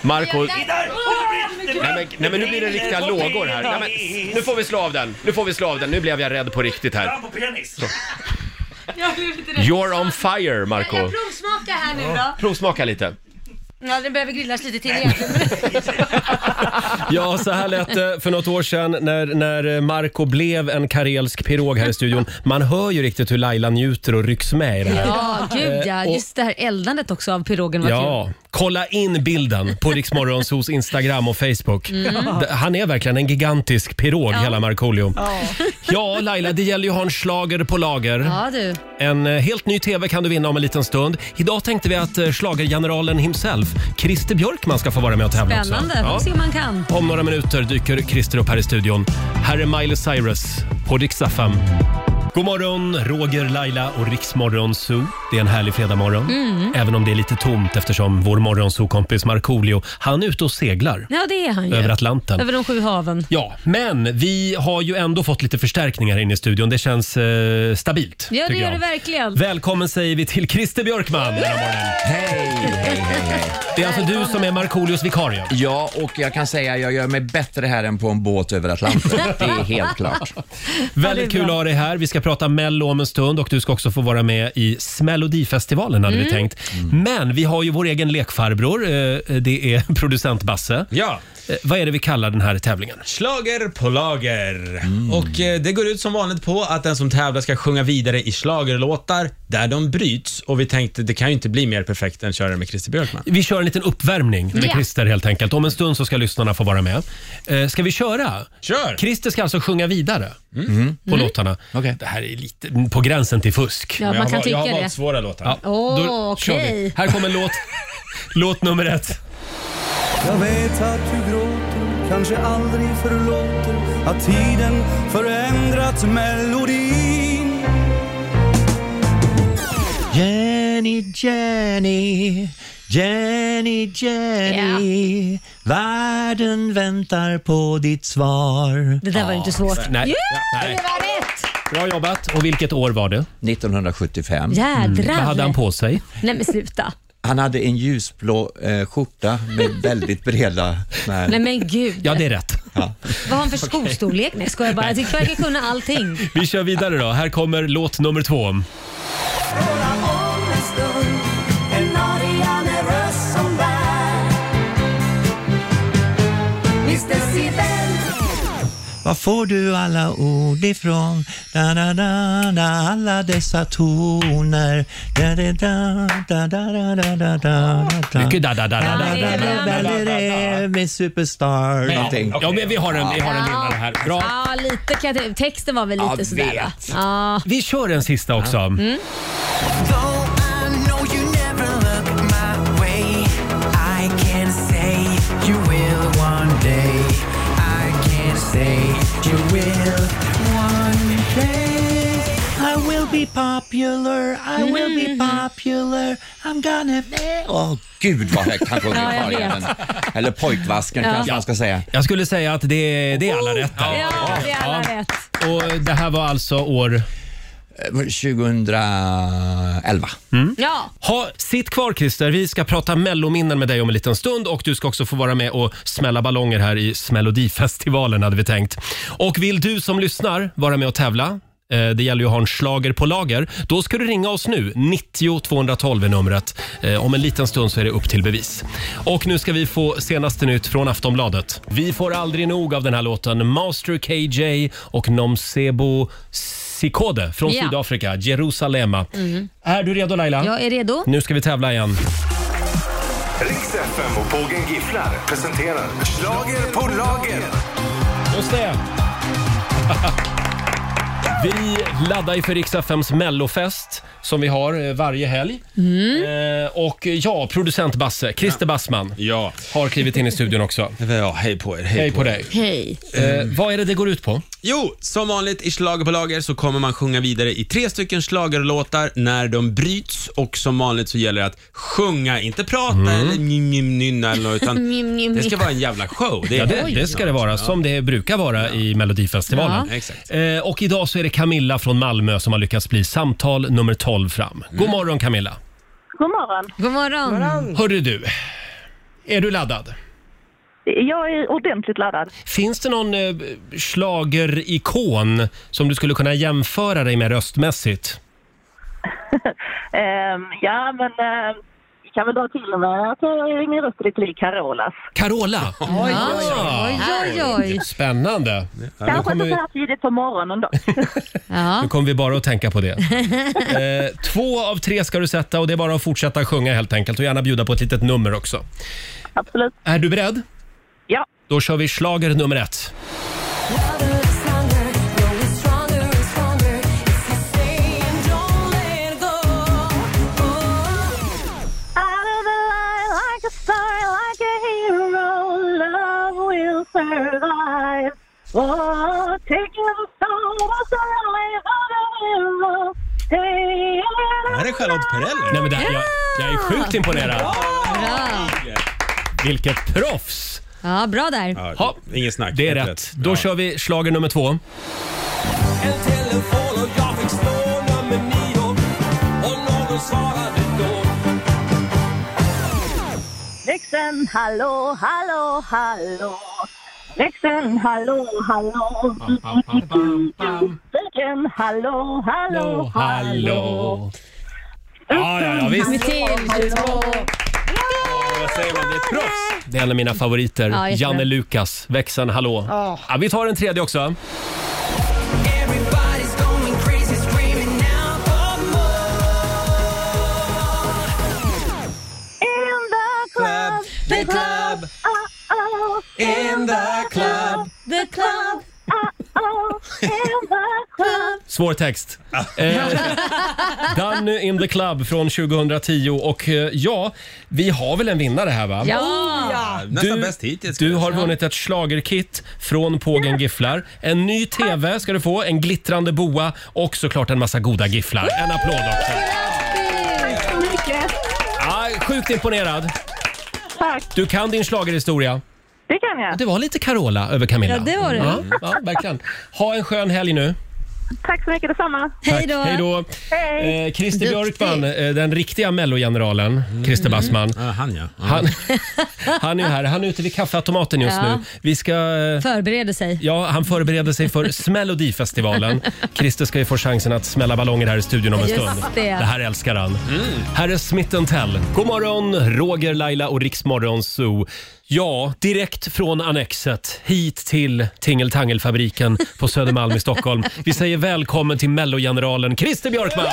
S1: Marco,
S8: Där! Åh, det brinner!
S1: Nej men, nej men nu blir det riktiga lågor här. Nej, men, nu får vi slå av den. Nu får vi slå av den. Nu blev jag rädd på riktigt här.
S8: Fram på penis!
S4: Jag blev lite rädd.
S1: You're on fire Marco
S4: Jag provsmakar här nu då.
S1: Provsmaka lite.
S4: Ja, den behöver grillas lite till egentligen.
S1: Ja, så här lät det för något år sedan när, när Marco blev en karelsk pirog här i studion. Man hör ju riktigt hur Laila njuter och rycks med i det här.
S4: Ja, gud ja. Just det här eldandet också av pirogen var kul.
S1: Ja, kolla in bilden på Riksmorgonsos Instagram och Facebook.
S4: Mm.
S1: D- Han är verkligen en gigantisk pirog, hela Markoolio. Ja. Laila, det gäller ju att ha en slager på lager.
S4: Ja du.
S1: En eh, helt ny TV kan du vinna om en liten stund. Idag tänkte vi att eh, schlagergeneralen himself, Christer Björkman, ska få vara med och tävla också.
S4: Spännande. Får se om man kan.
S1: Ja. Om några minuter dyker Christer upp här i studion. Här är Miley Cyrus på Dix FM. God morgon, Roger, Laila och Riksmorgon Zoo. Det är en härlig fredagmorgon.
S4: Mm.
S1: Även om det är lite tomt eftersom vår morgonzoo-kompis Markoolio, han är ute och seglar
S4: Ja, det är han ju.
S1: över Atlanten.
S4: Över de sju haven.
S1: Ja, men vi har ju ändå fått lite förstärkningar inne i studion. Det känns eh, stabilt.
S4: Ja, det
S1: tycker
S4: gör
S1: jag.
S4: det verkligen.
S1: Välkommen säger vi till Christer Björkman. den här morgonen.
S11: Hej, hej, hej, hej.
S1: Det är alltså du som är Markoolios vikarie.
S11: Ja, och jag kan säga jag gör mig bättre här än på en båt över Atlanten. Det är helt klart.
S1: Väldigt kul att ha dig här. Vi ska prata Mello om en stund och du ska också få vara med i Melodifestivalen hade
S4: Mm.
S1: vi tänkt. Men vi har ju vår egen lekfarbror. eh, Det är producent Basse.
S5: Ja.
S1: Eh, Vad är det vi kallar den här tävlingen?
S5: Slager på lager. Och eh, det går ut som vanligt på att den som tävlar ska sjunga vidare i slagerlåtar
S12: där de bryts och vi tänkte det kan ju inte bli mer perfekt än att köra med Christer Björkman.
S1: Vi kör en liten uppvärmning med
S12: Ja.
S1: Christer helt enkelt. Om en stund så ska lyssnarna få vara med. Eh, ska vi köra?
S12: Kör!
S1: Christer ska alltså sjunga vidare på
S4: Mm.
S1: låtarna. Det här är lite på gränsen till fusk.
S4: Ja, man
S1: jag
S4: kan
S1: har,
S4: tycka
S1: jag har
S4: det.
S1: valt svåra låtar.
S4: Åh,
S1: då kör vi.
S4: okej.
S1: Här kommer låt, låt nummer ett.
S13: Jag vet att du gråter, kanske aldrig förlåter att tiden förändrat melodin.
S14: Jenny, Jenny, Jenny, Jenny. Världen väntar på ditt svar.
S4: Det där var ju inte svårt.
S1: Nej.
S4: Ja,
S1: Nej.
S4: det var rätt!
S1: Bra jobbat. Och vilket år var det? Mm.
S11: 1975.
S4: Jädrar. Vad hade han på
S1: sig?
S4: Nej men sluta.
S11: Han hade en ljusblå eh, skjorta med väldigt breda...
S4: Nej men gud.
S1: Ja, det är rätt.
S4: Vad har han för skostorlek? Nej ska jag bara. Jag tycker verkar kunna allting.
S1: Vi kör vidare då. Här kommer låt nummer två.
S3: En Arian är röst som bär Mr.
S14: Var får du alla ord ifrån? Da, da, da, da, alla dessa toner. Da, da, da, da, da, da, da, da, da, da.
S1: Mycket da, da, da, da, da, da, da, da, da,
S14: Balleré med superstar. någonting.
S1: Ja, men vi har en, vi har en vinnare här. Bra.
S4: Ja, lite kan jag, tycka. texten var väl lite
S1: Jag
S4: sådär va?
S1: vet.
S4: Ja.
S1: Vi kör en sista också.
S4: Mm.
S14: I will be popular, I will be
S4: Mhm.
S14: popular, I'm gonna...
S11: Åh, gud vad högt han sjunger,
S14: Ja, jag
S11: Karin.
S14: vet.
S11: Eller pojkvasken
S14: Ja.
S11: kanske man ska säga.
S1: Jag skulle säga att det, det är alla rätt. där.
S4: Ja, det är alla rätt.
S1: Och det här var alltså år?
S11: 2011.
S1: Mm.
S4: Ja.
S1: Ha, sitt kvar Christer, vi ska prata mellominnen med dig om en liten stund och du ska också få vara med och smälla ballonger här i Melodifestivalen hade vi tänkt. Och vill du som lyssnar vara med och tävla? eh, Det gäller ju att ha en schlager på lager. Då ska du ringa oss nu. 90 212 är numret. Eh, Om en liten stund så är det upp till bevis. Och nu ska vi få senaste nytt från Aftonbladet. Vi får aldrig nog av den här låten. Master KJ och Nomsebo Sikode från
S4: Ja.
S1: Sydafrika, Jerusalema.
S4: Mm.
S1: Är du redo Laila?
S4: Jag är redo.
S1: Nu ska vi tävla igen.
S3: Riks FM och Pågen Gifflar presenterar Slager på lager.
S1: Just det. Vi laddar ju för Rix FMs mellofest som vi har eh, varje helg.
S4: Mm.
S1: Eh, och ja, producent Basse, Christer Bassman, har klivit in i studion också.
S5: Ja, hej på er.
S1: Hej, på, dig.
S4: Hej.
S1: Eh, vad är det det går ut på?
S5: Jo, som vanligt i Schlager på lager så kommer man sjunga vidare i tre stycken schlagerlåtar när de bryts och som vanligt så gäller det att sjunga, inte prata
S1: Mm.
S5: eller njim, njim, nynna eller något, utan
S4: Njim, njim,
S5: det ska
S4: njim.
S5: vara en jävla show.
S1: Det, ja, det, det ska det vara, som det brukar vara i Melodifestivalen.
S5: Ja. Exakt.
S1: Eh, och idag så är det Camilla från Malmö som har lyckats bli samtal nummer 12 fram.
S5: Mm.
S1: God morgon Camilla!
S15: God morgon.
S4: God morgon.
S1: Hörru du, är du laddad?
S15: Jag är ordentligt laddad.
S1: Finns det någon eh, schlagerikon som du skulle kunna jämföra dig med röstmässigt?
S15: Ehm, ja, men eh, jag kan väl dra till med att eh, min röst är lite lik Carolas.
S1: Carola! Oj,
S15: oj, oj, oj, oj.
S1: Spännande! Nu
S15: Kanske
S1: kommer,
S15: inte så
S1: vi,
S15: här tidigt på morgonen då.
S1: nu kommer vi bara att tänka på det. Eh, två av tre ska du sätta och det är bara att fortsätta sjunga helt enkelt och gärna bjuda på ett litet nummer också.
S15: Absolut.
S1: Är du beredd?
S15: Ja.
S1: Då kör vi schlager nummer ett. Eh,
S15: Out of the light like a star, like a hero, love will survive. Oh, taking the soul, what's the life of the hero? Stay in
S5: Är det Charlotte Perrelli?
S1: Nej, men det, jag, jag är sjukt
S15: Ah.
S1: imponerad.
S4: Bra.
S1: Vilket proffs!
S4: Ja, bra där.
S1: Ja,
S5: Inget snack.
S1: det är rätt. Då kör vi schlager nummer två.
S3: En telefon och jag fick slå nummer nio och någon svarade då.
S15: Växeln, hallå, hallå, hallå. Växeln, hallå, hallå. Växeln, hallå, hallå, hallå.
S1: Ja, ja, ja, visst.
S5: Vad säger man? Det är proffs.
S1: Det är en av mina favoriter.
S5: Ja, jättebra.
S1: Janne Lukas, växeln Hallå.
S5: Ja.
S1: Ja, vi tar en tredje också.
S3: Everybody's going crazy screaming now for more.
S15: The club. Uh-oh. In the club. The club. Uh-oh. In the club.
S1: Svår text. Eh, Danny in the club från 2010 och eh, ja, vi har väl en vinnare här va?
S15: Ja. Oh, ja.
S5: Nästan
S1: bäst hittills. Du har vunnit ett schlagerkit från Pågen Gifflar. En ny TV ska du få, en glittrande boa och såklart en massa goda gifflar. En applåd också.
S15: Tack så mycket.
S1: Ja, sjukt imponerad.
S15: Tack.
S1: Du kan din schlagerhistoria.
S15: Det kan jag.
S1: Det var lite Carola över Camilla.
S15: Ja, det var det.
S1: Ja, ja, verkligen. Ha en skön helg nu.
S15: Tack så mycket detsamma.
S1: Tack. Hej då. Eh, Christer Björkman, eh, den riktiga mellogeneralen, Christer Bassman.
S12: han ja.
S1: Mm. Han, han är ju här. Han är ute vid kaffeautomaten just
S4: Ja.
S1: nu. Vi ska... eh,
S4: Förbereder sig.
S1: Ja, han förbereder sig för Smällodifestivalen. Christer ska ju få chansen att smälla ballonger här i studion om en
S4: Just
S1: stund.
S4: det. Mm.
S1: här älskar han. Här är Smith Tell. God morgon, Roger, Laila och Riksmorgon Zoo. Ja, direkt från Annexet hit till Tingeltangelfabriken på Södermalm i Stockholm. Vi säger välkommen till mellogeneralen Christer Björkman!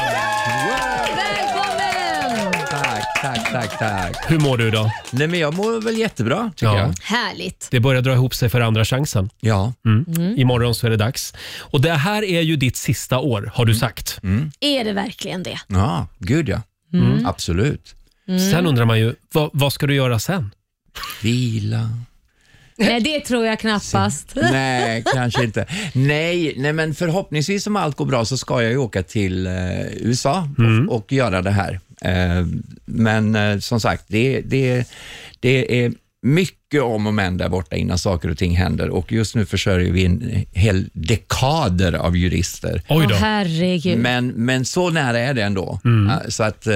S4: Välkommen!
S11: Tack, tack, tack, tack.
S1: Hur mår du idag?
S11: Nej, men jag mår väl jättebra, tycker
S1: Ja.
S11: jag.
S4: Härligt.
S1: Det börjar dra ihop sig för andra chansen.
S11: Ja.
S1: Mm.
S4: Mm.
S1: Imorgon så är det dags. Och det här är ju ditt sista år, har du sagt.
S4: Är det verkligen det?
S11: Mm. Ja, gud ja.
S1: Mm.
S11: Absolut.
S4: Mm.
S1: Sen undrar man ju, vad, vad ska du göra sen?
S11: Vila.
S4: Nej, det tror jag knappast.
S11: Nej, kanske inte. Nej, nej, men förhoppningsvis om allt går bra så ska jag ju åka till eh, USA
S4: Mm.
S11: och, och göra det här. Eh, men eh, som sagt, det, det, det är mycket om och men där borta innan saker och ting händer och just nu försörjer vi en hel dekader av jurister.
S4: Oj då. Åh, herregud.
S11: Men, men så nära är det ändå. Ja, Så att, eh,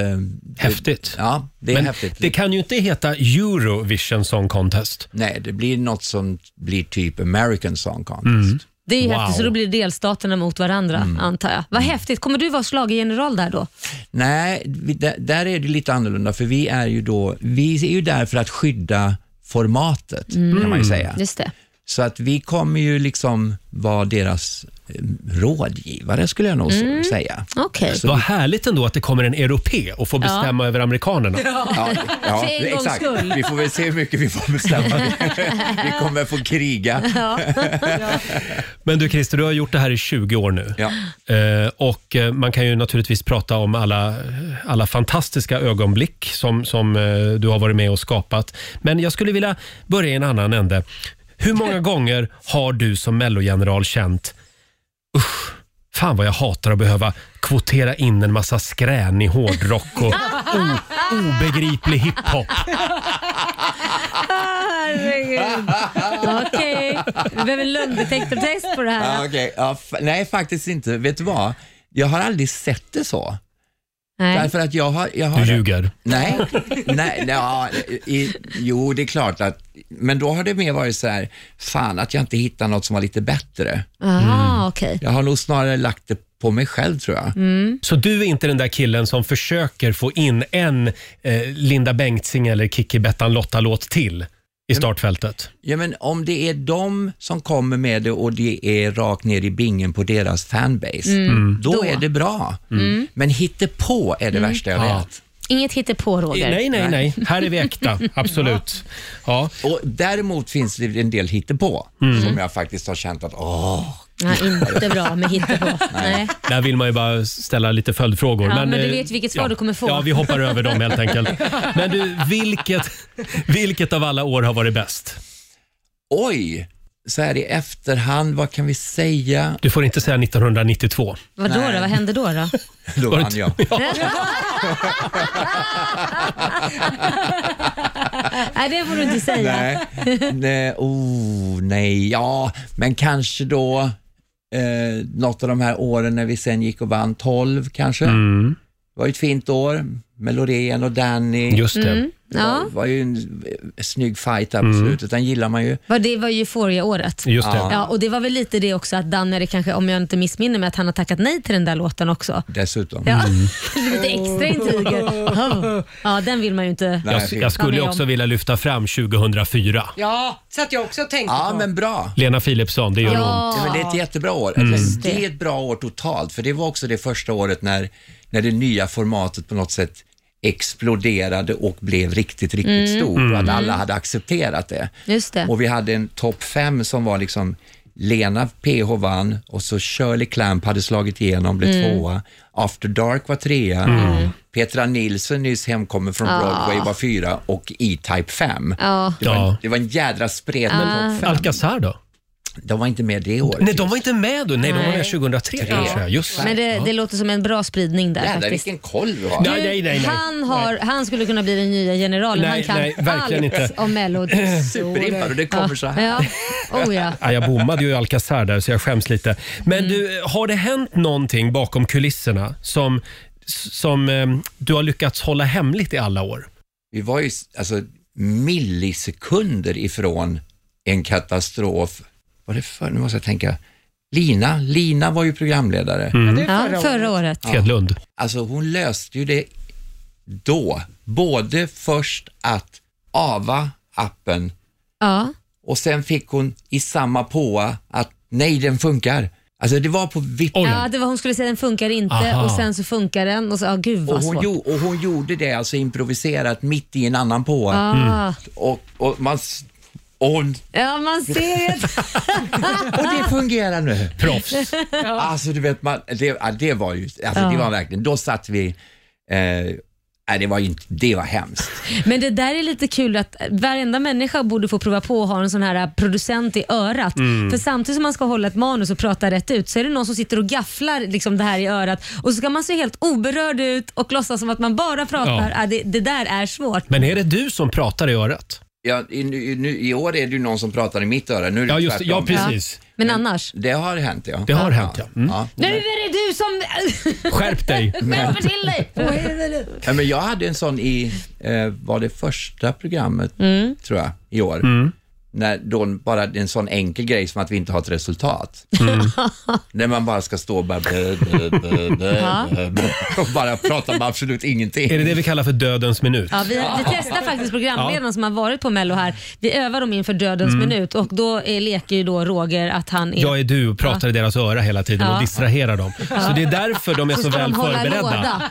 S1: Mm. Häftigt.
S11: Ja, det är
S1: Men
S11: häftigt.
S1: det kan ju inte heta Eurovision Song Contest.
S11: Nej, det blir något som blir typ American Song Contest.
S1: Mm.
S4: Det är ju
S11: Wow. Mm.
S4: häftigt, så då blir delstaterna mot varandra antar jag. Vad häftigt. Kommer du vara schlagergeneral där då?
S11: Nej, vi- där, där är det lite annorlunda för vi är ju då, vi är ju där för att skydda formatet kan man ju säga.
S4: Mm. Just det.
S11: Så att vi kommer ju liksom vara deras eh, rådgivare skulle jag nog så-
S4: Mm.
S11: säga.
S4: Okej.
S11: Så
S1: Vad
S11: vi-
S1: härligt ändå att det kommer en europé och får
S4: Ja.
S1: bestämma över amerikanerna.
S11: Ja, ja, exakt. Vi får väl se hur mycket vi får bestämma. vi kommer få kriga.
S1: Men du Christer, du har gjort det här i 20 år nu. Eh, och eh, man kan ju naturligtvis prata om alla, alla fantastiska ögonblick som, som eh, du har varit med och skapat. Men jag skulle vilja börja i en annan ände. Hur många gånger har du som mellogeneral känt Usch, fan vad jag hatar att behöva kvotera in en massa skrän i hårdrock och o- obegriplig hiphop.
S4: Herregud. Okej, vi behöver en lögndetektortest på det
S11: Ja,
S4: här.
S11: okej. ja, fa- nej, faktiskt inte. Vet du vad? Jag har aldrig sett det så.
S4: Nej.
S11: Därför att jag har... Jag har
S1: Du ljuger.
S11: Nej, nej, ja, i, jo det är klart att, men då har det mer varit så här, fan att jag inte hittar något som var lite bättre.
S4: Mm.
S11: Mm.
S4: Aha, okej.
S11: Jag har nog snarare lagt det på mig själv tror jag.
S4: Mm.
S1: Så du är inte den där killen som försöker få in en eh, Linda Bengtzing eller Kikki Bettan Lotta-låt till i
S11: Mm.
S1: startfältet?
S11: Ja, men om det är de som kommer med det och det är rakt ner i bingen på deras fanbase,
S4: Mm. Mm.
S11: då,
S4: Då.
S11: är det bra.
S4: Mm.
S11: Men på är det
S4: Mm.
S11: värsta jag
S4: Ja.
S11: vet.
S4: Inget hittepå Roger.
S11: Nej, nej, nej.
S1: Här är vi äkta, absolut. Ja. Mm.
S11: Och däremot finns det en del hittepå som jag faktiskt har känt att, åh,
S4: Nej, inte bra med hittepå. Nej.
S1: Där vill man ju bara ställa lite följdfrågor.
S4: Ja, men du
S1: eh,
S4: vet vilket svar du kommer få.
S1: Ja, vi hoppar över dem helt enkelt. Men du, vilket, vilket av alla år har varit bäst?
S11: oj, så här i efterhand, vad kan vi säga?
S1: Du får inte säga 1992.
S4: Vad då, då? Vad hände då? då?
S11: Då
S1: Var det
S11: vann
S1: inte-
S11: jag.
S4: Nej, det får du inte säga.
S11: Nej, nej, oh, nej, ja, men kanske då eh, något av de här åren när vi sen gick och vann 12 kanske.
S1: Mm.
S11: Det var ju ett fint år med Loreen och Danny.
S1: Just det. Mm,
S4: ja.
S11: var, var ju en eh, snygg fight där på slutet, den gillar man ju.
S4: Vad Det var ju Euphoria-året.
S11: Just det.
S4: Ja, och det var väl lite det också att Dan är det kanske, om jag inte missminner mig, att han har tackat nej till den där låten också.
S11: Dessutom.
S4: Ja.
S1: Mm.
S4: lite extra intriger. Oh. Ja, den vill man ju inte
S1: Jag, jag
S4: vara
S1: skulle
S4: med
S1: ju
S4: om.
S1: också vilja lyfta fram 2004.
S9: Ja, så att jag också tänkte
S11: Ja,
S9: på.
S11: men bra.
S1: Lena Philipsson, det gör
S4: Ja.
S1: ont.
S11: Ja, men det är ett jättebra år.
S1: Mm.
S11: Alltså, Det är ett bra år totalt, för det var också det första året när, när det nya formatet på något sätt exploderade och blev riktigt, riktigt
S4: Mm.
S11: stor och att
S4: Mm.
S11: alla hade accepterat det.
S4: Just det.
S11: Och vi hade en topp fem som var liksom Lena PH vann och så Shirley Clamp hade slagit igenom, blev
S4: Mm.
S11: tvåa. After Dark var trea.
S4: Mm.
S11: Petra Nilsson, nyss hemkommen från
S4: Ah.
S11: Broadway, var fyra och E-Type fem.
S4: Ja.
S11: Det, var en,
S1: Ja.
S11: det var en jädra spred
S4: Ah.
S11: topp fem.
S1: Alcazar då?
S11: De var inte med det året.
S1: Nej, de var inte med då. Nej, de var
S4: Nej.
S1: med 2003 kanske. Ja. Just
S4: Men det,
S1: Ja.
S4: det låter som en bra spridning där
S11: Jävlar
S4: faktiskt.
S11: vilken koll du
S1: Nej,
S11: har.
S1: nej, nej, nej.
S4: Han, har, han skulle kunna bli den nya generalen.
S1: Nej,
S4: han kan
S1: nej, verkligen
S4: allt
S1: inte.
S4: om melodifaktorer.
S1: Superimpar och det kommer
S4: ja.
S1: så här.
S4: Ja. Oh, ja.
S1: Ja, jag bommade ju Alcazar där så jag skäms lite. Men
S4: Mm.
S1: du, har det hänt någonting bakom kulisserna som, som eh, du har lyckats hålla hemligt i alla år?
S11: Vi var ju alltså, millisekunder ifrån en katastrof. Vad är det för? Nu måste jag tänka. Lina, Lina var ju programledare.
S4: Ja, det är förra Mm. Ja, förra året. året.
S1: Hedlund.
S11: Alltså hon löste ju det då. Både först att ava appen
S4: Ja.
S11: och sen fick hon i samma påa att nej, den funkar. Alltså det var på vippen.
S4: ja, det var hon skulle säga den funkar inte
S11: Aha.
S4: och sen så funkar den och så, ja gud vad
S11: Och hon,
S4: svårt.
S11: gjo- och hon gjorde det alltså improviserat mitt i en annan påa.
S4: Ah. Mm.
S11: Och, och, man, s- och hon,
S4: Ja, man ser ju.
S11: och det fungerar nu.
S1: Proffs.
S11: Alltså du vet, man, det, ja, det var ju, alltså,
S4: Ja.
S11: det var verkligen, då satt vi, eh, nej, det var ju inte, det var hemskt.
S4: Men det där är lite kul att varenda människa borde få prova på att ha en sån här producent i örat.
S11: Mm.
S4: För samtidigt som man ska hålla ett manus och prata rätt ut så är det någon som sitter och gafflar liksom det här i örat och så ska man se helt oberörd ut och låtsas som att man bara pratar.
S1: Ja.
S4: Ja. det, det där är svårt.
S1: Men är det du som pratar i örat?
S11: Ja, i, nu- nu, I år är det ju någon som pratar i mitt öra, nu är det
S1: Ja, just det.
S11: tvärtom.
S1: Ja, precis.
S4: Men, annars?
S11: Det har hänt ja.
S1: Det har hänt, ja. Mm.
S4: Nu är det du som...
S11: Skärp dig.
S4: Skärper till dig! Vad är det?
S11: Ja, men jag hade en sån i, eh, var det första programmet,
S4: Mm.
S11: tror jag, i år.
S1: Mm.
S11: När då bara det är en sån enkel grej som att vi inte har ett resultat.
S1: Mm.
S11: När man bara ska stå och bara, blö, blö, blö, blö,
S4: Ja.
S11: blö, blö, och bara prata om absolut ingenting.
S1: Är det det vi kallar för dödens minut?
S4: Ja, vi, vi testar faktiskt programledarna
S1: Ja.
S4: som har varit på Mello här. Vi övar dem inför dödens
S1: Mm.
S4: minut och då är, leker ju då Roger att han är...
S1: Jag är du och pratar i deras öra hela tiden
S4: Ja.
S1: och distraherar dem. Så
S4: Ja.
S1: det är därför de är så,
S4: ska
S1: väl
S4: de hålla
S1: förberedda.
S4: låda.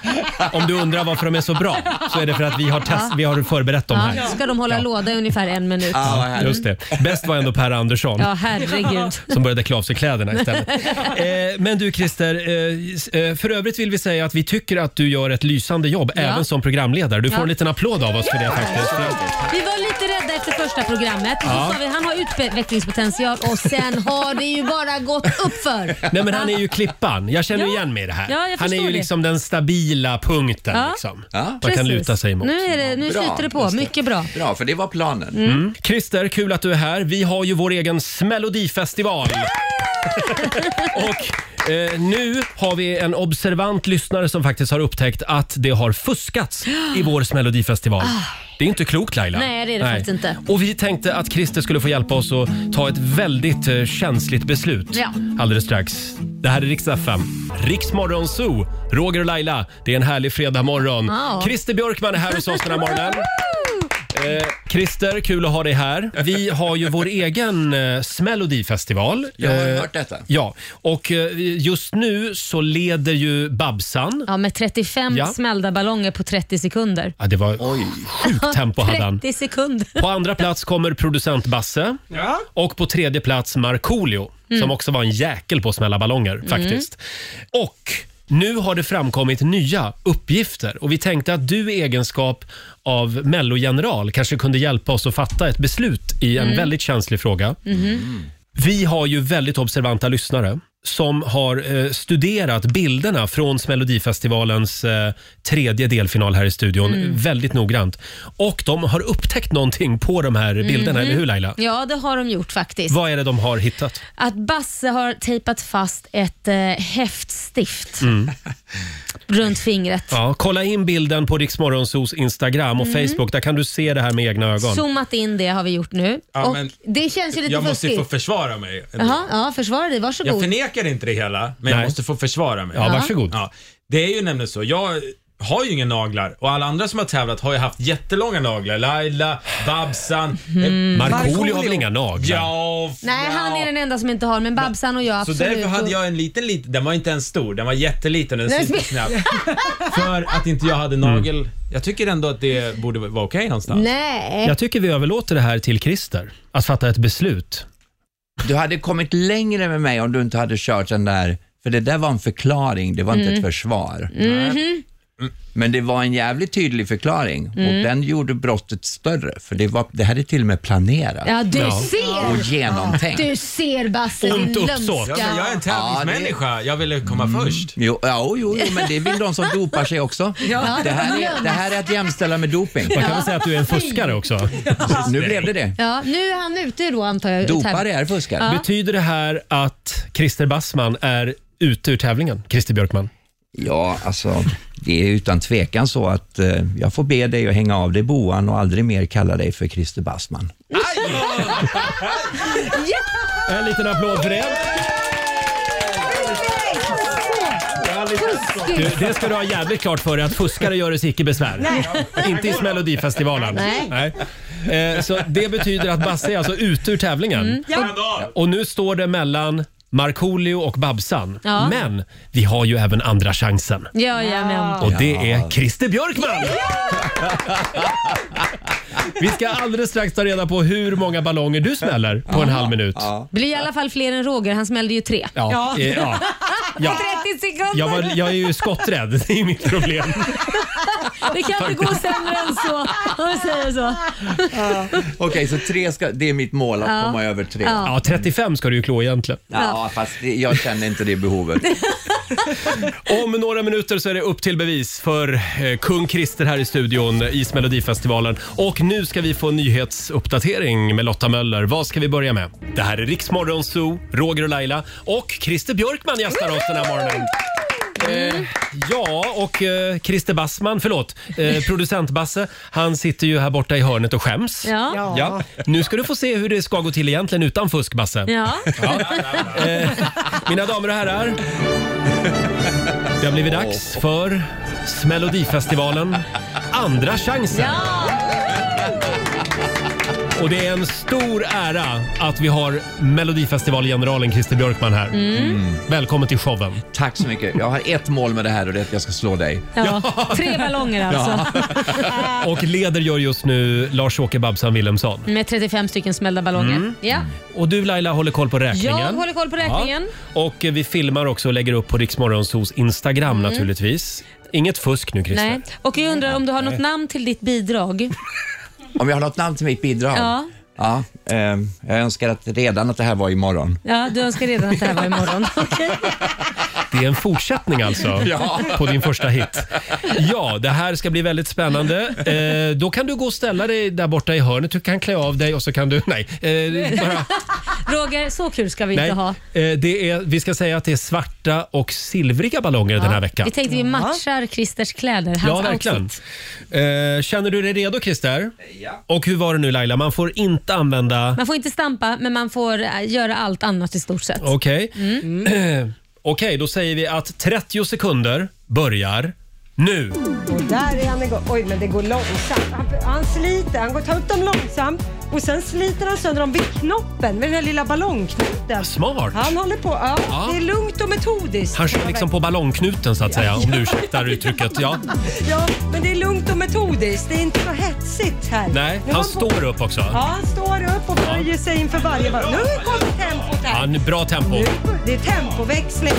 S1: Om du undrar varför de är så bra så är det för att vi har, test,
S4: Ja.
S1: vi har förberett dem
S4: Ja,
S1: här.
S4: ska de hålla låda i ungefär en minut. Mm.
S1: Ja, just det. Bäst var ändå Per Andersson.
S4: Ja, herregud.
S1: Som började klä av sig kläderna istället. Eh, men du Christer, eh, s- eh, för övrigt vill vi säga att vi tycker att du gör ett lysande jobb även som programledare. Du får
S4: Ja.
S1: en liten applåd av oss för det faktiskt.
S4: Vi var lite rädda efter första programmet.
S1: Ja.
S4: Så sa vi han har utvecklingspotential och sen har det ju bara gått uppför.
S1: Nej men han är ju klippan. Jag känner igen mig i det här.
S4: Ja, jag
S1: han är
S4: förstår
S1: ju
S4: det.
S1: liksom den stabila punkten
S4: Ja.
S1: liksom.
S11: Ja.
S1: Man kan
S11: Precis.
S1: luta sig emot.
S4: Nu, är det, nu
S11: Bra,
S4: flyter det på.
S11: just det.
S4: Mycket bra.
S11: Bra, för det var planen.
S1: Mm. Christer, kul att du är här. Vi har ju vår egen Smelodifestival. Och eh, nu har vi en observant lyssnare som faktiskt har upptäckt att det har fuskats i vår Smelodifestival. Det är inte klokt Laila.
S4: Ah. Nej, det är det faktiskt inte.
S1: Och vi tänkte att Christer skulle få hjälpa oss att ta ett väldigt eh, känsligt beslut
S4: Ja.
S1: alldeles strax. Det här är riksdag 5. Riksmorgon Zoo, Roger och Laila. Det är en härlig fredagmorgon.
S4: Ja.
S1: Christer Björkman är här hos oss den här morgonen. Eh, Christer, kul att ha dig här. Vi har ju vår egen eh, Smelodifestival.
S11: Jag har
S1: Eh,
S11: hört detta.
S1: Ja, och eh, just nu så leder ju Babsan.
S4: Ja, med 35
S1: Ja.
S4: smällda ballonger på 30 sekunder.
S1: Ja, det var sjukt tempo hade han.
S4: 30 sekunder.
S1: På andra plats kommer producent Basse och på tredje plats Markoolio som
S4: Mm.
S1: också var en jäkel på att smälla ballonger
S11: Mm.
S1: faktiskt. Och nu har det framkommit nya uppgifter och vi tänkte att du i egenskap av mellogeneral kanske kunde hjälpa oss att fatta ett beslut i en
S4: Mm.
S1: väldigt känslig fråga.
S16: Mm-hmm.
S1: Vi har ju väldigt observanta lyssnare som har eh, studerat bilderna från Melodifestivalens eh, tredje delfinal här i studion
S4: Mm.
S1: väldigt noggrant. Och de har upptäckt någonting på de här bilderna,
S4: Mhm.
S1: eller hur Laila?
S4: Ja, det har de gjort faktiskt.
S1: Vad är det de har hittat?
S4: Att Basse har tejpat fast ett eh, häftstift
S1: Mm.
S4: runt fingret.
S1: Ja, kolla in bilden på Riksmorgonsos Instagram och
S4: Mm.
S1: Facebook. Där kan du se det här med egna ögon.
S4: Zoomat in det har vi gjort nu.
S12: Ja,
S4: och
S12: men
S4: det känns ju lite
S12: jag måste ju få
S4: fuskigt.
S12: försvara mig.
S4: Jaha, ja, försvara dig. Varsågod.
S12: Jag förnekar inte det hela, men jag måste få försvara mig.
S4: Ja, Ja. varsågod.
S12: Ja. Det är ju nämligen så. Jag har ju inga naglar och alla andra som har tävlat har ju haft jättelånga naglar. Laila, Babsan. eh,
S4: Mm.
S1: Markoolio har väl inga naglar?
S12: Ja, f-
S4: Nej, han är den enda som inte har, men Babsan och jag
S12: så
S4: absolut.
S12: därför hade jag en liten, liten, den var inte ens stor, den var jätteliten och den
S4: Nej,
S12: sitter
S4: men-
S12: knappt. För att inte jag hade nagel.
S1: Mm.
S12: Jag tycker ändå att det borde vara okej någonstans.
S4: Nej.
S1: Jag tycker vi överlåter det här till Christer, att fatta ett beslut.
S11: Du hade kommit längre med mig om du inte hade kört den där, för det där var en förklaring, det var inte
S4: Mm.
S11: ett försvar.
S4: Mhm.
S11: Men det var en jävligt tydlig förklaring
S4: Mm.
S11: och den gjorde brottet större, för det, var, det hade till och med planerat.
S4: Ja, du ser!
S11: Och genomtänkt.
S4: Du ser Basse, din
S12: Ja,
S4: lömska.
S12: men jag är en tävlingsmänniska. Jag ville komma först.
S11: Mm. Jo, ja, jo, jo, men det vill de som dopar sig också.
S4: Ja.
S11: Det, här är, det här är att jämställa med doping.
S4: Man kan väl säga att
S1: du är en fuskare också.
S11: Nu blev det det.
S4: Ja, nu är han ute då antar
S3: Eh,
S4: jag. Ja.
S1: Betyder det här att Christer Bassman är ute ur tävlingen? Christer Björkman?
S11: Ja, alltså det är utan tvekan så att eh, jag får be dig att hänga av dig boan och aldrig mer kalla dig för Christer Bassman.
S1: En liten applåd för det. Du, det ska du ha jävligt klart för dig att fuskare gör det icke besvär.
S3: Nej.
S1: Inte i Melodifestivalen.
S3: Nej.
S1: Eh, så det betyder att Basse är alltså ute ur tävlingen.
S3: Mm. Ja.
S1: Och nu står det mellan Markoolio och Babsan.
S4: Ja.
S1: Men vi har ju även andra chansen.
S4: Jajamän.
S1: Och det är Christer Björkman! Vi ska alldeles strax ta reda på hur många ballonger du smäller på en halv minut.
S4: Blir i alla fall fler än Roger, han smällde ju tre.
S1: Ja, eh, ja. Ja.
S4: På 30 sekunder.
S1: Jag, var, jag är ju skotträdd, det är mitt problem.
S4: Det kan inte gå sämre än så, om vi säger så.
S11: Okej, så tre ska, det är mitt mål att
S4: Ja.
S11: komma över tre.
S4: Ja.
S1: Ja, 35 ska du ju klå egentligen.
S11: Ja, fast det, jag känner inte det behovet.
S1: Om några minuter så är det upp till bevis för eh, kung Christer här i studion i Melodifestivalen. Och nu ska vi få en nyhetsuppdatering med Lotta Möller. Vad ska vi börja med? Det här är Riksmorgon Zoo, Roger och Laila och Christer Björkman gästar oss den här morgonen.
S4: Mm.
S1: Eh, ja, och eh, Christer Bassman, förlåt, eh, producent Basse, han sitter ju här borta i hörnet och skäms.
S4: Ja.
S1: Ja. Nu ska du få se hur det ska gå till egentligen utan fusk, Basse.
S4: Ja.
S1: Eh, mina damer och herrar, det har blivit dags för Melodifestivalen Andra chansen. Och det är en stor ära att vi har Melodifestivalgeneralen Christer Björkman här.
S4: Mm.
S1: Välkommen till showen.
S11: Tack så mycket. Jag har ett mål med det här och det är att jag ska slå dig.
S4: Ja. Tre ballonger alltså.
S1: Och leder gör just nu Lars-Åke Babsan Willemsson.
S4: Med 35 stycken smällda ballonger.
S1: Mm.
S4: Ja.
S1: Och du Laila håller koll på räkningen.
S4: Jag håller koll på räkningen.
S1: Ja. Och eh, vi filmar också och lägger upp på Riksmorgonsos Instagram
S4: Mm.
S1: naturligtvis. Inget fusk nu Christer.
S4: Nej. Och jag undrar om du har något
S1: Nej.
S4: namn till ditt bidrag?
S11: Om jag har något namn till mitt bidrag?
S4: Ja.
S11: Ja, ehm, jag önskar att redan att det här var imorgon.
S4: Ja, du önskar redan att det här var imorgon. Okej.
S1: Det är en fortsättning alltså
S11: Ja.
S1: på din första hit. Ja, det här ska bli väldigt spännande. Eh, då kan du gå och ställa dig där borta i hörnet. Du kan klä av dig och så kan du... Nej. Eh, bara,
S4: Roger, så kul ska vi
S1: nej.
S4: inte ha.
S1: Eh, det är, vi ska säga att det är svarta och silvriga ballonger den här veckan.
S4: Vi tänkte vi matchar Christers kläder, hans
S1: Ja, verkligen.
S4: outfit.
S1: Eh, känner du dig redo Christer? Ja. Och hur var det nu Laila? Man får inte använda...
S4: Man får inte stampa, men man får eh, göra allt annat i stort sett.
S1: Okej. Okej, då säger vi att 30 sekunder börjar nu.
S17: Och där är han igång. Oj, men det går långsamt. Han, han sliter. Han går, tar upp dem långsamt och sen sliter han sönder dem vid knoppen med den här lilla ballongknuten.
S1: Smart.
S17: Han håller på. Ja,
S1: Ja.
S17: Det är lugnt och metodiskt.
S1: Han kör liksom på ballongknuten så att säga, om du ursäktar uttrycket. Ja.
S17: Ja, men det är lugnt och metodiskt. Det är inte så hetsigt här.
S1: Nej,
S17: Nu är
S1: han
S17: på-
S1: står upp också.
S17: Ja, han står upp och böjer sig inför varje ballong. Nu kommer tempot här.
S1: Ja, en bra tempo.
S17: Det är tempoväxling.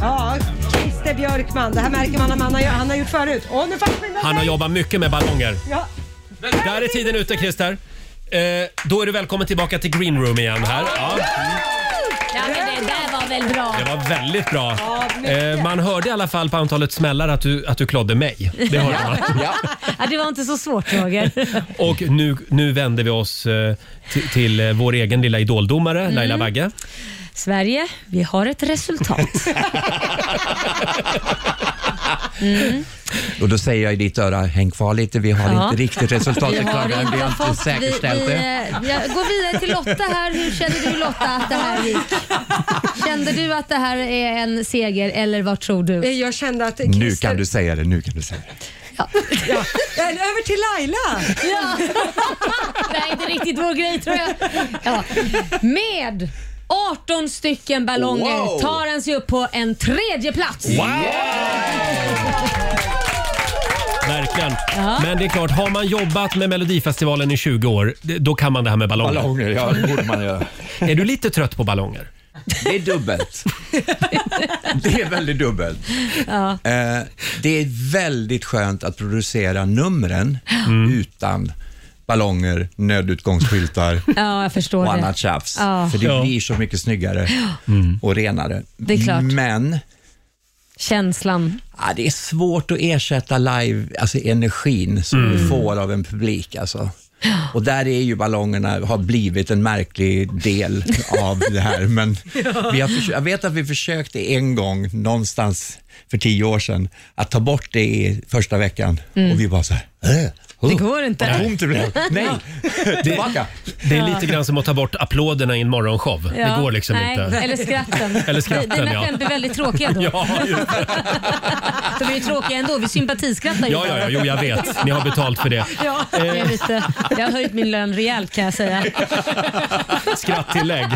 S17: Ja, Christer Björkman. Det här märker man att han har, han har gjort förut. Åh, nu fastnar
S1: Han har jobbat mycket med ballonger.
S17: Ja.
S1: Där är tiden ute Christer. Eh, då är du välkommen tillbaka till green room igen här. Ja,
S4: Ja, men det där var väl bra.
S1: det var väldigt bra.
S4: Ja, mycket.
S1: Eh, man hörde i alla fall på antalet smällar att du, att du klodde mig. Det hörde man.
S4: Ja, det var inte så svårt Roger.
S1: Och nu, nu vänder vi oss eh, till, till eh, vår egen lilla idoldomare,
S4: Mm.
S1: Laila Bagge.
S4: Sverige, vi har ett resultat. Mm.
S11: Och då säger jag i ditt öra, häng kvar lite, vi har
S4: Ja.
S11: inte riktigt resultatet
S4: Vi har
S11: klart än, vi
S4: inte
S11: har inte
S4: fått- vi-
S11: säkerställt
S4: vi,
S11: det.
S4: eh, Jag går vidare till Lotta här. Hur känner du Lotta att det här gick? Kände du att det här är en seger eller vad tror du?
S2: Eh, Jag kände att
S11: Nu kan du säga det, nu kan du säga det.
S2: Ja. Över till Laila!
S4: Ja. Det här är inte riktigt vår grej tror jag. Ja. Med 18 stycken ballonger
S15: Wow.
S4: tar han sig upp på en tredje plats.
S1: Verkligen.
S4: Ja.
S1: Men det är klart, har man jobbat med Melodifestivalen i 20 år, d- då kan man det här med ballonger.
S11: Ballonger, ja, det borde man göra.
S1: Är du lite trött på ballonger?
S11: Det är dubbelt. Det är väldigt dubbelt.
S4: Ja.
S11: Eh, det är väldigt skönt att producera numren
S1: Mm.
S11: utan ballonger, nödutgångsskyltar
S4: ja, jag förstår
S11: och
S4: det.
S11: annat tjafs.
S4: Ja.
S11: För det
S4: Ja.
S11: blir så mycket snyggare och renare.
S4: Det är klart.
S11: Men
S4: Känslan.
S11: ja, det är svårt att ersätta live, alltså energin som
S18: Mm.
S11: du får av en publik. Alltså. Och där är ju ballongerna har blivit en märklig del av det här. Men
S15: Ja.
S11: vi har förs- jag vet att vi försökte en gång, någonstans för tio år sedan, att ta bort det i första veckan.
S15: Mm.
S11: Och vi bara så här, "Äh, oh,
S4: Det går inte."
S11: Vad tomt det blev. Nej, tillbaka.
S1: Det är lite grann som att ta bort applåderna i en morgonshow.
S4: Ja.
S1: Det går liksom
S4: Nej.
S1: inte.
S4: Eller skratten.
S1: Eller skratten,
S4: Dina
S1: ja.
S4: skämt är väldigt tråkiga då.
S1: Ja,
S4: De är ju tråkiga ändå. Vi sympatiskrattar ju.
S1: Ja, ja, ja, jo, jag vet. Ni har betalt för det.
S4: Ja, det är lite, jag har höjt min lön rejält kan jag säga.
S1: Skratttillägg.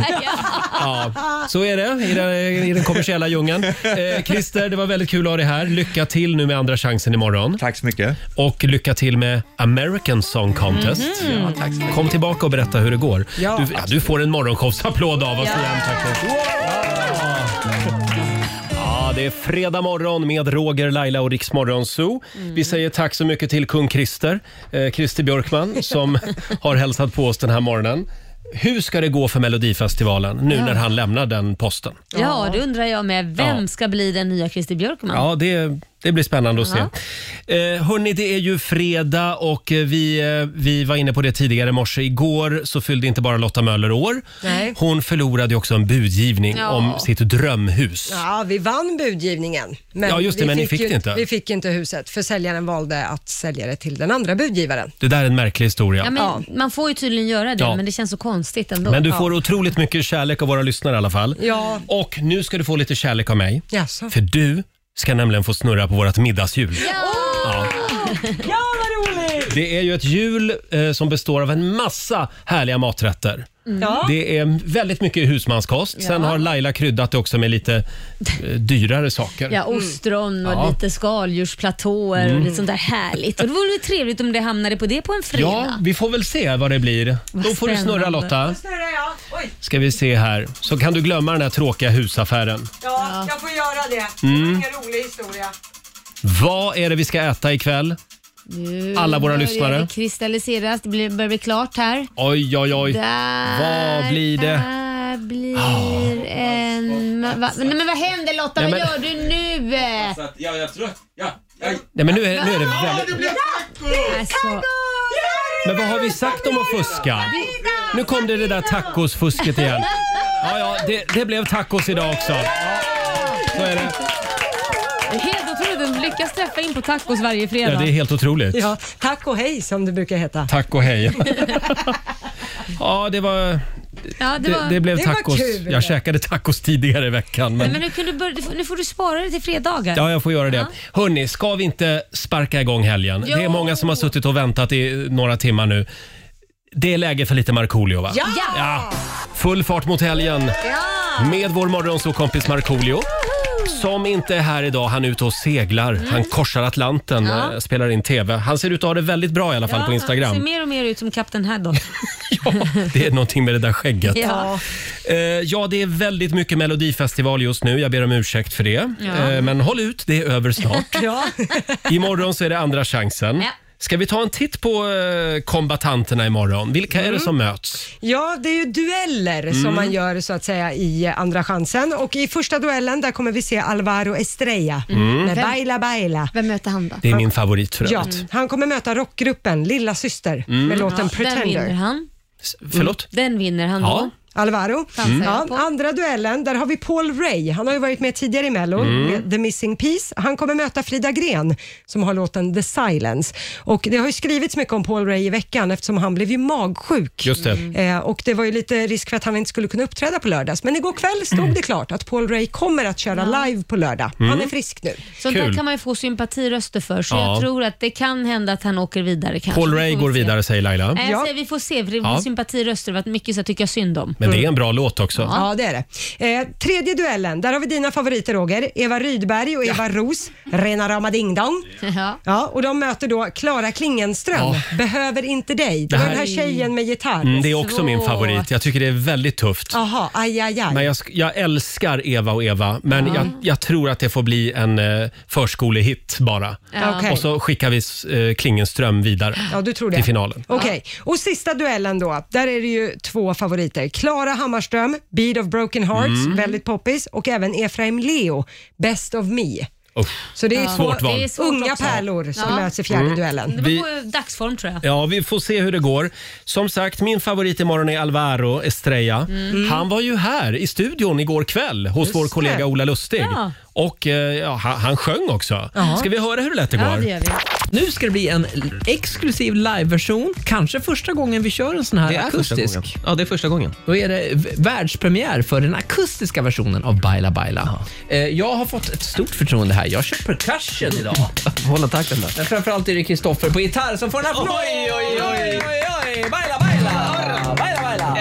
S1: Ja, så är det i den, i den kommersiella djungeln. Eh, Christer, det var väldigt kul att ha dig här. Lycka till nu med Andra chansen imorgon.
S11: Tack så mycket.
S1: Och lycka till med American Song Contest.
S4: Mm.
S15: Mhm. Ja, tack så mycket.
S1: Kom tillbaka och berätta hur det går.
S15: Ja.
S1: Du, ja, du får en morgonshowsapplåd av oss igen. Tack. Ja, det är fredag morgon med Roger, Laila och Rix Morgon Zoo. Vi säger tack så mycket till kung Christer, eh, Christer Björkman, som har hälsat på oss den här morgonen. Hur ska det gå för Melodifestivalen nu
S4: Ja.
S1: när han lämnar den posten?
S4: Ja, det undrar jag med. Vem
S1: Ja.
S4: ska bli den nya Christer Björkman?
S1: Ja, det, det blir spännande att se.
S4: Ja.
S1: Eh, hörni, det är ju fredag och eh, vi, eh, vi var inne på det tidigare i morse. Igår så fyllde inte bara Lotta Möller år.
S2: Nej.
S1: Hon förlorade ju också en budgivning
S2: Ja.
S1: om sitt drömhus.
S2: Ja, vi vann budgivningen.
S1: Ja, just det, men ni fick
S2: ju,
S1: det inte.
S2: Vi fick inte huset, för säljaren valde att sälja det till den andra budgivaren.
S1: Det där är en märklig historia.
S4: Ja, men, Man får ju tydligen göra det,
S1: Ja.
S4: men det känns så konstigt ändå.
S1: Men du får
S4: ja.
S1: otroligt mycket kärlek av våra lyssnare i alla fall.
S4: Ja.
S1: Och nu ska du få lite kärlek av mig.
S2: Jaså?
S1: För du ska nämligen få snurra på vårt middagshjul. Ja.
S15: Ja, vad roligt!
S1: Det är ju ett hjul eh, som består av en massa härliga maträtter.
S15: Mm. Ja.
S1: Det är väldigt mycket husmanskost. Sen
S4: Ja.
S1: har Laila kryddat det också med lite eh, dyrare saker.
S4: Ja, ostron och
S1: Ja.
S4: lite skaldjursplatåer och
S1: Mm.
S4: lite sånt där härligt. Och det vore väl trevligt om det hamnade på det på en fredag.
S1: Ja, vi får väl se vad det blir.
S4: Vad
S1: Då får du snurra
S4: spännande.
S1: Lotta.
S2: snurrar jag. Oj.
S1: Ska vi se här. Så kan du glömma den här tråkiga husaffären.
S2: Ja, jag får göra det.
S1: Det var Mm. ingen
S2: rolig historia.
S1: Vad är det vi ska äta ikväll?
S4: Nu
S1: Alla våra
S4: börjar
S1: lyssnare.
S4: Det kristalliseras, det blir- börjar bli klart här.
S1: Oj, oj, oj.
S4: Där
S1: Vad blir det?
S4: Där blir en... Va? Nej, men vad händer Lotta?
S1: Ah. Nej,
S4: vad
S1: men-
S4: gör du nu?
S5: Ja, jag tror... Ja.
S1: Nej, men nu är, nu är det väldigt...
S4: Alltså,
S1: Men vad har vi sagt om att fuska? Nu kom det, det där tacosfusket igen. Ja, ja, det, det blev tacos idag också. Så är det.
S4: helt otroligt. De lyckas träffa in på tacos varje fredag.
S1: Ja, det är helt otroligt.
S2: Ja, tack och hej som det brukar heta.
S1: Tack och hej. Ja, det var...
S4: Ja, det,
S1: Det,
S4: var,
S1: det blev tacos. Jag käkade tacos tidigare i veckan.
S4: Nej,
S1: Men...
S4: men nu, kan du börja, du får- nu får du spara det till fredagar.
S1: Ja, jag får göra det. Hörni, ska vi inte sparka igång helgen?
S4: Jo.
S1: Det är många som har suttit och väntat i några timmar nu. Det är läge för lite Markoolio, va?
S15: Ja!
S1: ja! Full fart mot helgen med vår morgonsåkompis Markoolio. Som inte är här idag. Han är ute och seglar. Han korsar Atlanten
S4: Mm. Ja.
S1: eh, spelar in TV. Han ser ut att ha det väldigt bra i alla fall på
S4: Han ser
S1: Instagram.
S4: mer och mer ut som Kapten Haddock.
S1: Det är någonting med det där skägget.
S4: ja.
S1: Eh, ja, det är väldigt mycket Melodifestival just nu. Jag ber om ursäkt för det.
S4: Ja.
S1: Eh, men håll ut, det är över snart.
S2: ja.
S1: Imorgon så är det andra chansen.
S2: Ja.
S1: Ska vi ta en titt på eh, kombatanterna imorgon? Vilka är det som möts?
S2: Ja, det är ju dueller
S1: Mm.
S2: som man gör så att säga i eh, Andra chansen och i första duellen där kommer vi se Alvaro Estrella
S1: Mm.
S2: med
S1: Vem-
S2: Baila Baila.
S4: Vem möter han då?
S1: Det är min favorit för
S2: Ja,
S1: övrigt.
S2: han kommer möta rockgruppen Lilla Syster
S1: Mm.
S2: med låten
S4: Den
S2: Pretender.
S4: vinner han. Mm.
S1: Förlåt?
S4: Den vinner han
S1: Ja.
S4: då.
S2: Alvaro.
S15: Mm.
S2: Ja, andra duellen, där har vi Paul Ray. Han har ju varit med tidigare i Mello
S15: Mm.
S2: med The Missing Piece. Han kommer möta Frida Gren som har låten The Silence. Och det har ju skrivits mycket om Paul Ray i veckan eftersom han blev ju magsjuk.
S1: Just det.
S2: Eh, och det var ju lite risk för att han inte skulle kunna uppträda på lördags. Men igår kväll
S1: Mm.
S2: stod det klart att Paul Ray kommer att köra live på lördag. Han
S4: Mm.
S2: är frisk nu.
S4: Sånt där kan man ju få sympatiröster för, så
S1: Ja.
S4: jag tror att det kan hända att han åker vidare. Kanske.
S1: Paul Ray
S4: Vi får
S1: går
S4: se.
S1: vidare säger Laila.
S4: Nej, jag säger, vi får se, för det
S1: Ja.
S4: var sympatiröster. Det har varit mycket så jag tycker jag synd om.
S1: Men det är en bra låt också.
S2: Ja, det är det. Eh, tredje duellen, där har vi dina favoriter Roger. Eva Rydberg och Eva Ros, rena rama dingdong.
S4: Ja.
S2: Ja, och de möter då Klara Klingenström, Behöver inte dig. Det
S1: Det
S2: var
S1: här-
S2: den här tjejen med gitarr.
S1: Mm, det är också min favorit. Jag tycker det är väldigt tufft.
S2: Jaha, aj, aj, aj.
S1: Men jag, sk- jag älskar Eva och Eva, men
S2: Ja.
S1: jag, jag tror att det får bli en eh, förskolehit bara.
S2: Ja. Okej.
S1: Och så skickar vi eh, Klingenström vidare
S2: Ja, du tror det.
S1: till finalen.
S2: Okej, och sista duellen då. Där är det ju två favoriter. Klara Hammarström, Beat of Broken Hearts,
S1: Mm.
S2: väldigt poppis, och även Efraim Leo, Best of Me.
S1: Usch.
S2: Så det är två
S1: Svårt val.
S2: unga pärlor som möts i fjärde
S1: Mm.
S2: duellen.
S1: Det beror på
S4: dagsform tror jag.
S1: Ja, vi får se hur det går. Som sagt, min favorit imorgon är Alvaro Estrella.
S4: Mm.
S1: Han var ju här i studion igår kväll hos
S4: Just
S1: vår
S4: det.
S1: kollega Ola Lustig.
S4: Ja.
S1: Och eh, ja, han, han sjöng också.
S18: Ja.
S1: Ska vi höra hur det lät igår?
S18: Nu ska det bli en exklusiv liveversion. Kanske första gången vi kör en sån här
S1: Det är första
S18: akustisk.
S1: gången.
S18: Ja, det är första gången. Då är det v- världspremiär för den akustiska versionen av Baila Baila. Eh, Jag har fått ett stort förtroende här. Jag kör percussion idag. Hålla takten där. Men framförallt är det Kristoffer på gitarr som får en applåd.
S15: Oj, oj, oj.
S18: oj. Baila, baila. Baila, baila.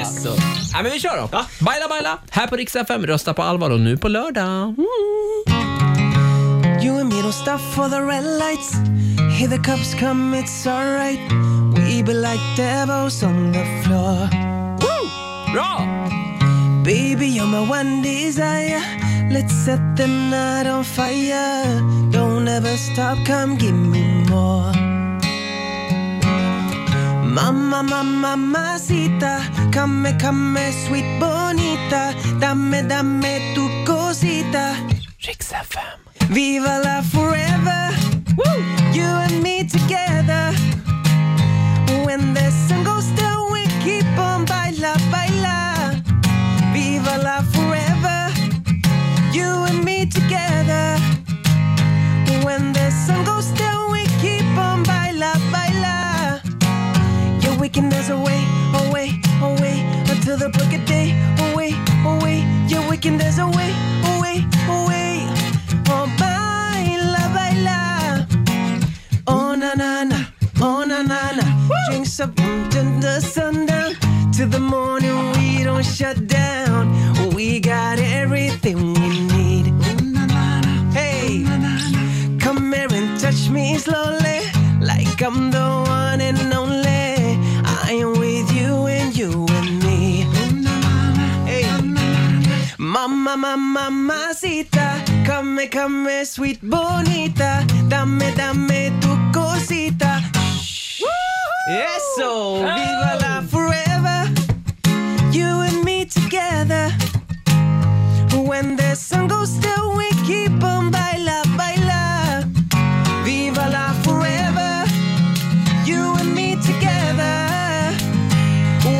S18: Ja, men vi kör då. Baila, baila. Här på Rix FM. Rösta på Alvaro nu på lördag.
S16: You and me don't stop for the red lights. Here the cops come, it's alright. We be like devils on the floor. Woo! Raw! Baby, you're my one desire. Let's set the night on fire. Don't ever stop, come give me more. Mamma, mamma, mamacita, come, come, sweet bonita, dame, dame tu cosita. Rix FM. Viva la forever, Woo! you and me together. When the sun goes down, we keep on baila, baila. Viva la forever, you and me together. When the sun goes down, we keep on baila, baila. Yeah, we can dance away, away, away until the break of day. Away, away. Yeah, we can dance away, away, away. Oh, baila, baila. Oh, na, na, na. Oh, na, na, na. Drinks up until the sundown. Till the morning, we don't shut down. We got everything we need. Hey, come here and touch me slowly, like I'm the one and only. I am with you and you and me. Hey, mama, mama, mamacita, come, come, sweet bonita, dame, dame tu cosita. Eso, viva la forever, you and me together. When the sun goes down, we keep on baila, baila. Viva la forever, you and me together.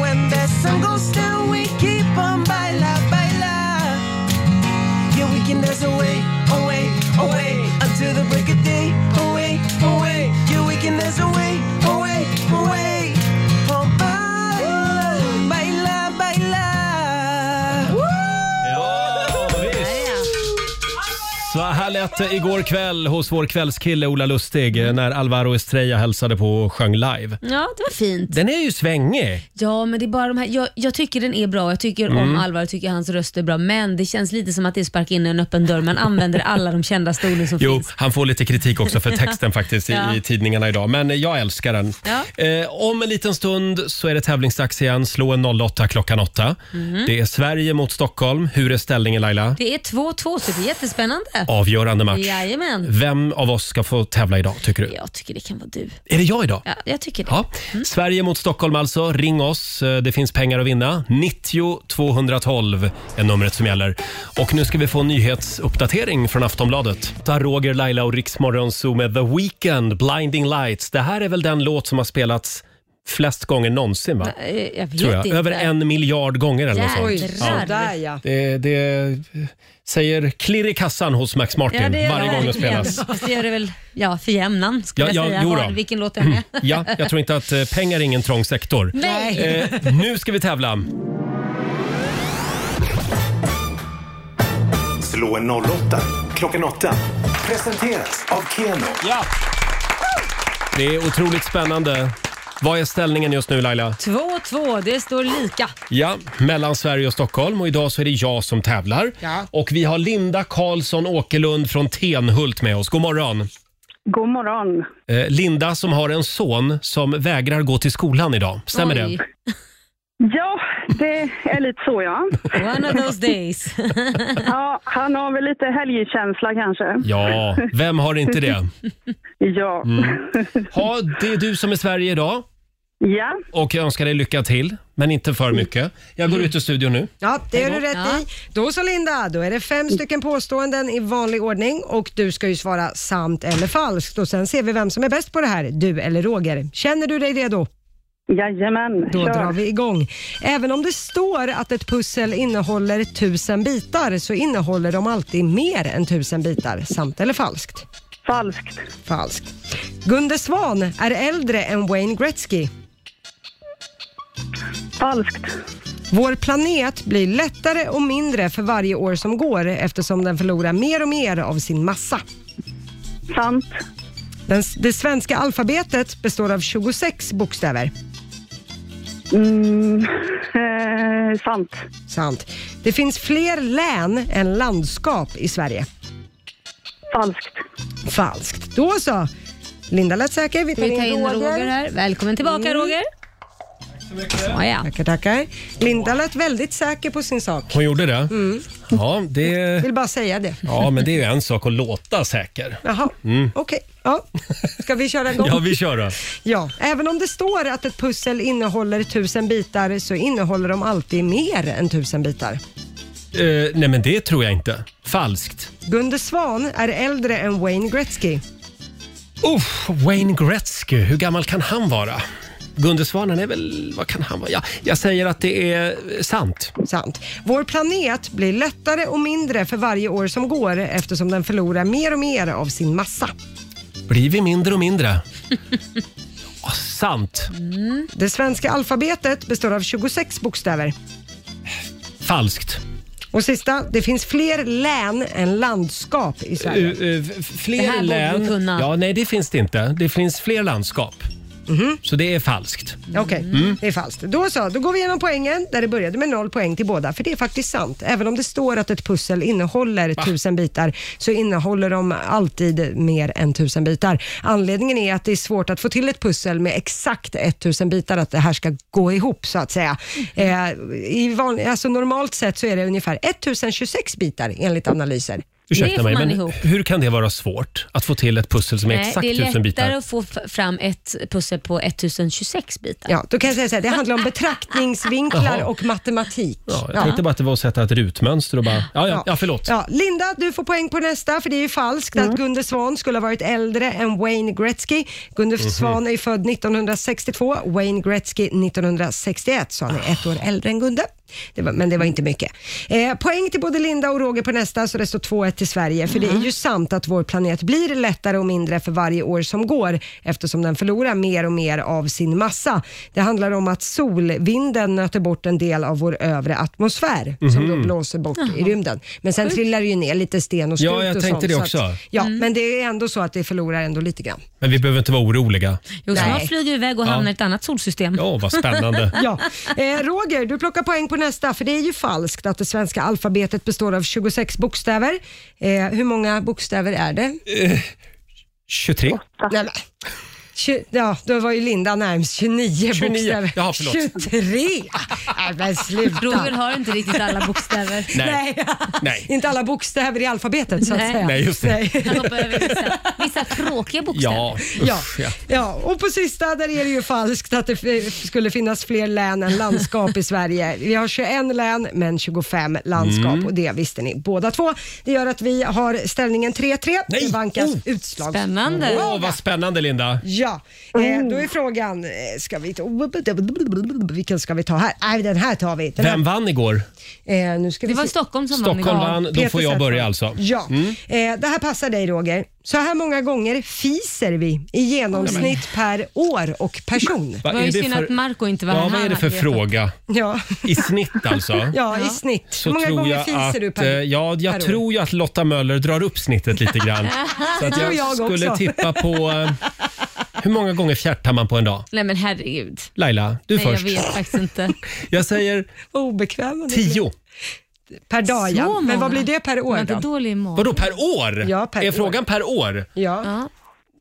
S16: When the sun goes down, we keep on baila, baila. Yeah, we can dance away, away, away until the break of day. Away, away. Yeah, we can dance away, away, away. Oh, baila, baila, baila.
S1: Så här lät det igår kväll hos vår kvällskille Ola Lustig eh, när Alvaro Estrella hälsade på och sjöng live.
S4: Ja, det var fint.
S1: Den är ju svängig.
S4: Ja, men det är bara de här. Jag, jag tycker den är bra och jag tycker om
S1: Mm.
S4: Alvar och tycker hans röst är bra. Men det känns lite som att det är sparka in en öppen dörr. Man använder alla de kända stolen som
S1: Jo,
S4: finns.
S1: han får lite kritik också för texten faktiskt i,
S4: Mm. Ja.
S1: i tidningarna idag, men jag älskar den.
S4: Ja.
S1: Eh, om en liten stund så är det tävlingsdags igen. Slå en 08 klockan 8.
S4: Mhm.
S1: Det är Sverige mot Stockholm. Hur är ställningen Laila?
S4: Det är 2-2 så det är jättespännande.
S1: Avgörande match.
S4: Jajamän.
S1: Vem av oss ska få tävla idag tycker du?
S4: Jag tycker det kan vara du.
S1: Är det jag idag?
S4: Ja, jag tycker det.
S1: Ja. Sverige mot Stockholm alltså. Ring oss. Eh, Det finns pengar att vinna. 90 212 är numret som gäller. Och nu ska vi få en nyhetsuppdatering från Aftonbladet. Där Roger, Laila och Riksmorgon Zoo med The Weeknd, Blinding Lights. Det här är väl den låt som har spelats flest gånger någonsin va?
S4: Nej, eh, jag vet
S1: Tror jag.
S4: inte.
S1: Över en miljard gånger eller något sånt.
S4: Jädrar. Sådär,
S2: ja.
S1: Det, det säger klirr i kassan hos Max Martin
S4: Ja, det gör
S1: varje gång det
S4: verkligen.
S1: spelas.
S4: Fast det gör det väl ja, för jämnan, skulle
S1: Ja, ja,
S4: jag säga.
S1: jo då. Mm.
S4: Var, vilken låt den är.
S1: Ja, jag tror inte att eh, pengar är ingen trång sektor.
S4: Nej.
S1: Eh, nu ska vi tävla.
S19: Slå en 08 klockan 8. Presenteras av Keno.
S1: Ja. Det är otroligt spännande. Vad är ställningen just nu Laila?
S4: 2-2, det står lika.
S1: Ja, mellan Sverige och Stockholm och idag så är det jag som tävlar.
S4: Ja.
S1: Och vi har Linda Karlsson Åkerlund från Tenhult med oss. God morgon!
S20: God morgon.
S1: Eh, Linda som har en son som vägrar gå till skolan idag. Stämmer
S20: Oj.
S1: det?
S20: Ja, det är lite så ja.
S4: One of those days.
S20: ja, han har väl lite helgkänsla kanske.
S1: Ja, vem har inte det?
S20: ja.
S1: Mm. Ha, det är du som är Sverige idag.
S20: Ja.
S1: Och jag önskar dig lycka till, men inte för mycket. Jag går ut ur studion nu.
S2: Ja, det gör du
S1: Hej
S2: rätt
S1: då.
S2: i. Då så Linda, då är det fem stycken påståenden i vanlig ordning och du ska ju svara sant eller falskt och sen ser vi vem som är bäst på det här, du eller Roger. Känner du dig redo?
S20: Jajamän,
S2: Då
S20: kör.
S2: drar vi igång. Även om det står att ett pussel innehåller tusen bitar så innehåller de alltid mer än tusen bitar. Sant eller falskt?
S20: Falskt.
S2: Falskt. Gunde Svan är äldre än Wayne Gretzky.
S20: Falskt.
S2: Vår planet blir lättare och mindre för varje år som går eftersom den förlorar mer och mer av sin massa.
S20: Sant.
S2: Den, det svenska alfabetet består av 26 bokstäver.
S20: Mm, eh, sant.
S2: Sant. Det finns fler län än landskap i Sverige.
S20: Falskt.
S2: Falskt. Då så. Linda lät säker. Vi tar, Mm.
S4: Vi tar in Roger här. Välkommen tillbaka Roger. Ja, ja.
S2: Tackar, tackar. Linda lät väldigt säker på sin sak.
S1: Hon gjorde det?
S2: Mm.
S1: Ja, det...
S2: Vill bara säga det.
S1: Ja, men det är ju en sak att låta säker.
S2: Jaha,
S1: Mm.
S2: okej. Ja. Ska vi köra igång?
S1: Ja, vi kör då.
S2: Ja, även om det står att ett pussel innehåller tusen bitar så innehåller de alltid mer än tusen bitar.
S1: Eh, nej, men det tror jag inte. Falskt.
S2: Gunde Svan är äldre än Wayne Gretzky.
S1: Uff, Wayne Gretzky, hur gammal kan han vara? Gunde Svanen är väl... Vad kan han vara? Ja, jag säger att det är sant.
S2: Sant. Vår planet blir lättare och mindre för varje år som går eftersom den förlorar mer och mer av sin massa.
S1: Blir vi mindre och mindre? Ja, sant.
S2: Mm. Det svenska alfabetet består av 26 bokstäver.
S1: Falskt.
S2: Och sista, det finns fler län än landskap i Sverige.
S1: Eh, eh, f- fler
S2: Det här borde
S1: län.
S2: du kunna.
S1: Ja, nej, det finns det inte. Det finns fler landskap.
S2: Mhm.
S1: Så det är falskt.
S2: Mm. Okej,
S1: Mm.
S2: det är falskt. Då så, då går vi igenom poängen där det började med noll poäng till båda, för det är faktiskt sant. Även om det står att ett pussel innehåller tusen bitar så innehåller de alltid mer än tusen bitar. Anledningen är att det är svårt att få till ett pussel med exakt 1000 bitar, att det här ska gå ihop så att säga. Eh,
S1: Mm.
S2: i van, alltså normalt sett så är det ungefär 1026 bitar enligt analyser.
S1: Ursäkta mig, men hur kan det vara svårt att få till ett pussel som är
S4: Nej,
S1: exakt
S4: det är lättare
S1: tusen bitar?
S4: att få f- fram ett pussel på 1026 bitar.
S2: Ja, då kan jag säga så här, det handlar om betraktningsvinklar
S1: Jaha.
S2: och matematik.
S1: Ja, jag
S2: Ja.
S1: tänkte bara att det var att sätta ett rutmönster och bara... Ja, ja, ja förlåt.
S2: Ja, Linda, du får poäng på nästa, för det är ju falskt att Gunde Svan skulle ha varit äldre än Wayne Gretzky. Gunde
S1: Mhm.
S2: Svan är ju född 1962, Wayne Gretzky 1961, så han är ett år äldre än Gunde. Det var, men det var inte mycket. Eh, poäng till både Linda och Roger på nästa, så det står 2-1 till Sverige. För det är ju sant att vår planet blir lättare och mindre för varje år som går, eftersom den förlorar mer och mer av sin massa. Det handlar om att solvinden nöter bort en del av vår övre atmosfär, som då
S1: Mhm.
S2: blåser bort i
S1: Jaha.
S2: rymden. Men sen trillar det ju ner lite sten och skrot
S1: Ja, jag
S2: och
S1: tänkte
S2: sånt,
S1: det
S2: så
S1: också.
S2: Att, ja,
S4: Mm.
S2: men det är ändå så att det förlorar ändå lite grann.
S1: Men vi behöver inte vara oroliga.
S4: Jo,
S2: Nej.
S4: snart flyger vi iväg och
S1: Ja.
S4: hamnar i ett annat solsystem.
S1: Ja, vad spännande.
S2: ja. eh, Roger, du plockar poäng på nästa, för det är ju falskt att det svenska alfabetet består av 26 bokstäver. Eh, hur många bokstäver är det?
S1: Eh, 23?
S2: Nej, men. Tju- Ja, då var ju Linda närmst 29,
S1: 29.
S2: bokstäver.
S1: Jaha, förlåt.
S2: 23! Nej, men sluta.
S4: Roger har inte riktigt alla bokstäver.
S2: Nej.
S1: Nej.
S2: inte alla bokstäver i alfabetet så att
S4: Nej.
S2: säga.
S1: Nej, just det.
S4: Han hoppar över vissa, vissa tråkiga bokstäver.
S1: Ja,
S2: Ja.
S1: usch, ja.
S2: Ja, och på sista där är det ju falskt att det f- skulle finnas fler län än landskap i Sverige. Vi har 21 län men 25 landskap
S4: Mm.
S2: och det visste ni båda två. Det gör att vi har ställningen 3-3 i Vankas utslag.
S1: Oh! Åh, vad spännande Linda.
S2: Ja. Ja, eh, då är frågan, eh, ska vi ta, vilken ska vi ta här? Nej, den här tar vi. Den
S1: Vem
S2: här,
S1: vann igår?
S2: eh, nu ska vi
S4: Det var
S2: se.
S4: Stockholm som
S1: Stockholm
S4: vann
S1: vann.
S4: igår.
S1: Då får jag
S2: Peter
S1: börja
S2: Settman.
S1: alltså.
S2: Ja.
S1: Mm.
S2: Eh, det här passar dig Roger. Så här många gånger fiser vi i genomsnitt per år och person.
S1: Vad
S4: Det var ju synd att Marco inte var
S1: ja,
S4: här.
S1: vad är det för
S4: Han hade vetat.
S1: fråga?
S2: Ja.
S1: I snitt alltså?
S2: Ja, i snitt.
S1: Så
S2: Hur många
S1: tror
S2: gånger
S1: jag
S2: fiser
S1: att,
S2: du per,
S1: eh, Ja, jag
S2: per år?
S1: tror ju att Lotta Möller drar upp snittet lite grann. Så att
S4: Det tror
S1: jag,
S4: jag också.
S1: skulle tippa på... eh, Hur många gånger fjärtar man på en dag?
S4: Nej men herregud.
S1: Laila, du
S4: Nej,
S1: först.
S4: Jag vet faktiskt inte.
S1: Jag säger
S2: Obekväm.
S1: tio.
S2: Per dag
S4: Så
S2: ja. Men
S4: många.
S2: vad blir det per år
S4: Man är
S2: då?
S4: dålig mål.
S1: Vadå per år?
S2: Ja, per
S1: är
S2: år.
S1: frågan per år?
S2: Ja.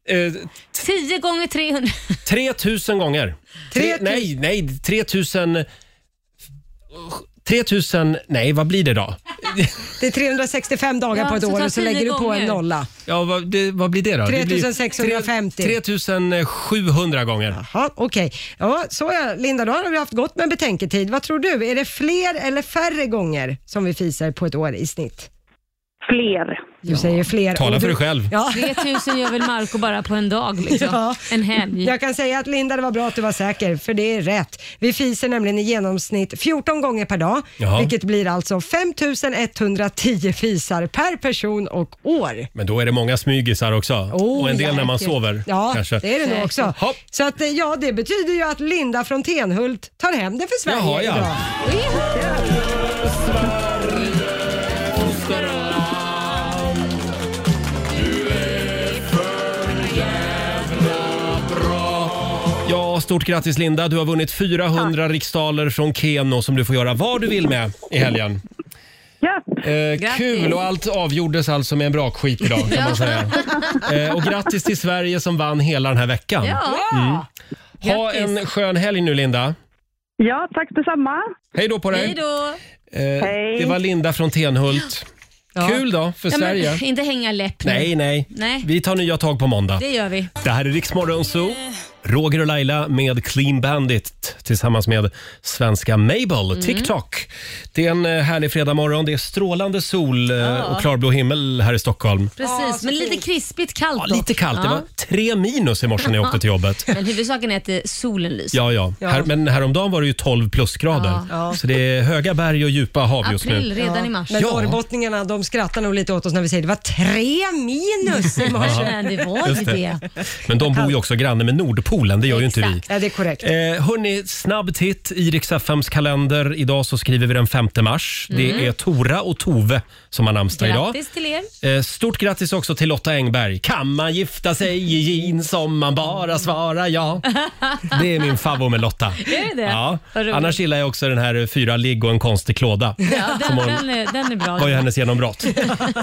S1: Eh,
S4: 10 gånger 300.
S1: 3000 gånger. Tre, nej, nej, 3000... 3000... Nej, vad blir det då?
S2: Det är 365 dagar
S17: Ja,
S2: på ett
S17: så
S2: år
S17: ta
S2: och så
S17: tio
S2: lägger du på en
S17: gånger.
S2: nolla.
S1: Ja, vad, det, vad blir det då? Det blir
S2: 3650.
S1: 3700 gånger.
S2: Jaha, okej. Ja, så ja, Linda, då har vi haft gott med betänketid. Vad tror du? Är det fler eller färre gånger som vi fiser på ett år i snitt?
S20: Fler.
S2: Du säger fler.
S1: Tala
S2: Och
S1: för
S2: du-
S1: dig själv.
S2: Ja.
S4: 3000 gör väl Marco bara på en dag liksom.
S2: Ja.
S4: En helg.
S2: Jag kan säga att Linda, det var bra att du var säker, för det är rätt. Vi fiser nämligen i genomsnitt 14 gånger per dag,
S1: Jaha.
S2: vilket blir alltså 5110 fisar per person och år.
S1: Men då är det många smygisar också.
S2: Oh,
S1: och en del när man
S2: säkert.
S1: sover.
S2: Ja,
S1: kanske.
S2: det är det nog också.
S1: Hopp.
S2: Så att, eh, ja, det betyder ju att Linda från Tenhult tar hem det för Sverige
S1: Jaha, ja.
S2: idag.
S1: Ja, stort grattis Linda. Du har vunnit 400 riksdaler från Keno som du får göra vad du vill med i helgen. Eh, kul och allt avgjordes alltså med en brakskit idag kan man säga. Eh, och grattis till Sverige som vann hela den här veckan.
S20: Ja.
S1: Mm. Ha en skön helg nu Linda.
S20: Ja, tack detsamma.
S1: Hej då på dig.
S4: då.
S1: Eh,
S4: Hej.
S1: det var Linda från Tenhult. Kul då för
S4: ja,
S1: Sverige.
S4: Men, inte hänga läpp nu.
S1: Nej, nej,
S4: Nej.
S1: Vi tar nya tag på måndag.
S4: Det gör vi.
S1: Det här är Rix Morgon Zoo. Roger och Laila med Clean Bandit tillsammans med svenska Mabel,
S4: Mm.
S1: TikTok. Det är en eh, härlig fredagmorgon. Det är strålande sol eh,
S4: Ja.
S1: och klarblå himmel här i Stockholm.
S4: Precis, men lite krispigt kallt
S1: Ja, lite kallt. Det var tre minus i morse när jag åkte till jobbet.
S4: Men huvudsaken är att eh, solen lyser.
S1: Ja, ja. Här, men häromdagen var det ju 12 plusgrader.
S4: Ja. Ja.
S1: Så det är höga berg och djupa hav just nu.
S2: Men
S1: Ja.
S2: norrbottningarna de skrattar nog lite åt oss när vi säger det var tre minus i
S1: Ja.
S2: morse.
S1: Just Men de bor ju också granne med Nordpolen, det gör ju inte vi.
S2: Ja, det är korrekt.
S1: Eh, hörni, snabb titt i Rix FMs kalender. Idag så skriver vi den 5 mars.
S4: Mm.
S1: Det är Tora och Tove som har namnsdag idag.
S4: Grattis till er.
S1: Eh, Stort grattis också till Lotta Engberg. Kan man gifta sig i jeans om man bara svarar ja? Det är min favvo med Lotta.
S4: Är det det?
S1: Ja.
S4: Vad roligt.
S1: Annars gillar jag också den här eh, Fyra ligg och en konstig klåda.
S4: Ja,
S1: som
S4: den,
S1: hon-
S4: den, är, den är bra.
S1: var ju hennes genombrott.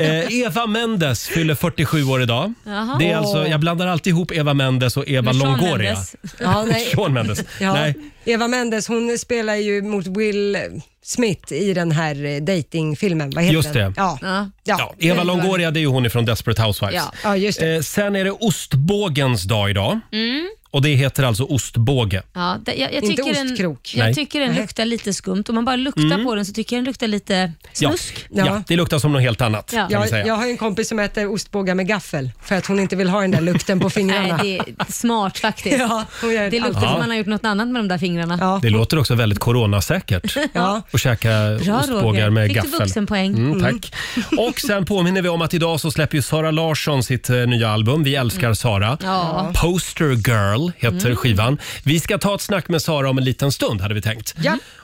S1: Eh, Eva Mendes fyller 47 år idag.
S4: Jaha.
S1: Det är alltså, jag blandar alltid ihop Eva Mendes och Eva
S4: Med Shawn
S1: Longoria.
S4: Mendes.
S2: Ja, nej.
S1: Shawn Mendes.
S2: Ja.
S1: Nej.
S2: Eva Mendes hon spelar ju mot Will Smith i den här eh, datingfilmen. Vad heter
S1: Just
S2: den?
S1: det.
S2: Ja. Ja.
S1: Ja, Eva Longoria det är ju hon från Desperate Housewives.
S2: Ja. Ja, just det.
S1: Eh, sen är det ostbågens dag idag.
S4: Mm.
S1: Och det heter alltså ostbåge.
S4: Ja, det, jag, jag
S2: Inte
S4: tycker den,
S2: ostkrok.
S4: jag
S1: Nej. Mm.
S4: tycker den luktar lite skumt. Om man bara luktar på den så tycker jag den luktar lite
S1: Ja.
S4: snusk.
S1: Ja. det luktar som något helt annat.
S4: Ja.
S1: Kan vi
S2: Jag,
S1: säga.
S2: jag har ju en kompis som äter ostbågar med gaffel för att hon inte vill ha den där lukten på fingrarna.
S4: Nej, det är smart faktiskt.
S2: Ja, hon gör det.
S4: det luktar
S1: Ja.
S4: som man har gjort något annat med de där fingrarna.
S1: Det låter också väldigt coronasäkert
S4: Ja.
S1: att käka
S4: Bra,
S1: ostbågar
S4: Roger.
S1: med
S4: Fick du
S1: gaffel.
S4: vuxenpoäng?
S1: Mm,
S4: Mm.
S1: tack. Och sen påminner vi om att idag så släpper ju Sara Larsson sitt eh, nya album. Vi älskar Sara.
S4: Mm. Ja.
S1: Poster Girl heter
S4: Mm.
S1: skivan. Vi ska ta ett snack med Sara om en liten stund hade vi tänkt.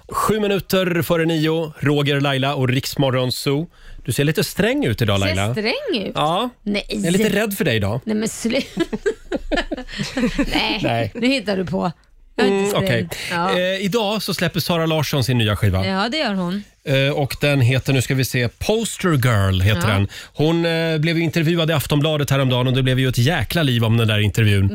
S1: Sju minuter före nio, Roger, Laila och Riksmorgon Zoo. Du ser lite sträng ut idag
S4: Ser
S1: Laila.
S4: sträng ut.
S1: Ja,
S4: Nej.
S1: jag är lite rädd för dig idag.
S4: Nej men sluta. Nej.
S1: Nej.
S4: nu hittar du på. Jag är
S1: Mm,
S4: inte sträng.
S1: okej.
S4: ja.
S1: eh, idag så släpper Sara Larsson sin nya skiva.
S4: ja, det gör hon.
S1: Eh, Och den heter, nu ska vi se, Poster Girl heter
S4: Ja.
S1: den. Hon eh, blev ju intervjuad i Aftonbladet häromdagen och det blev ju ett jäkla liv om den där intervjun.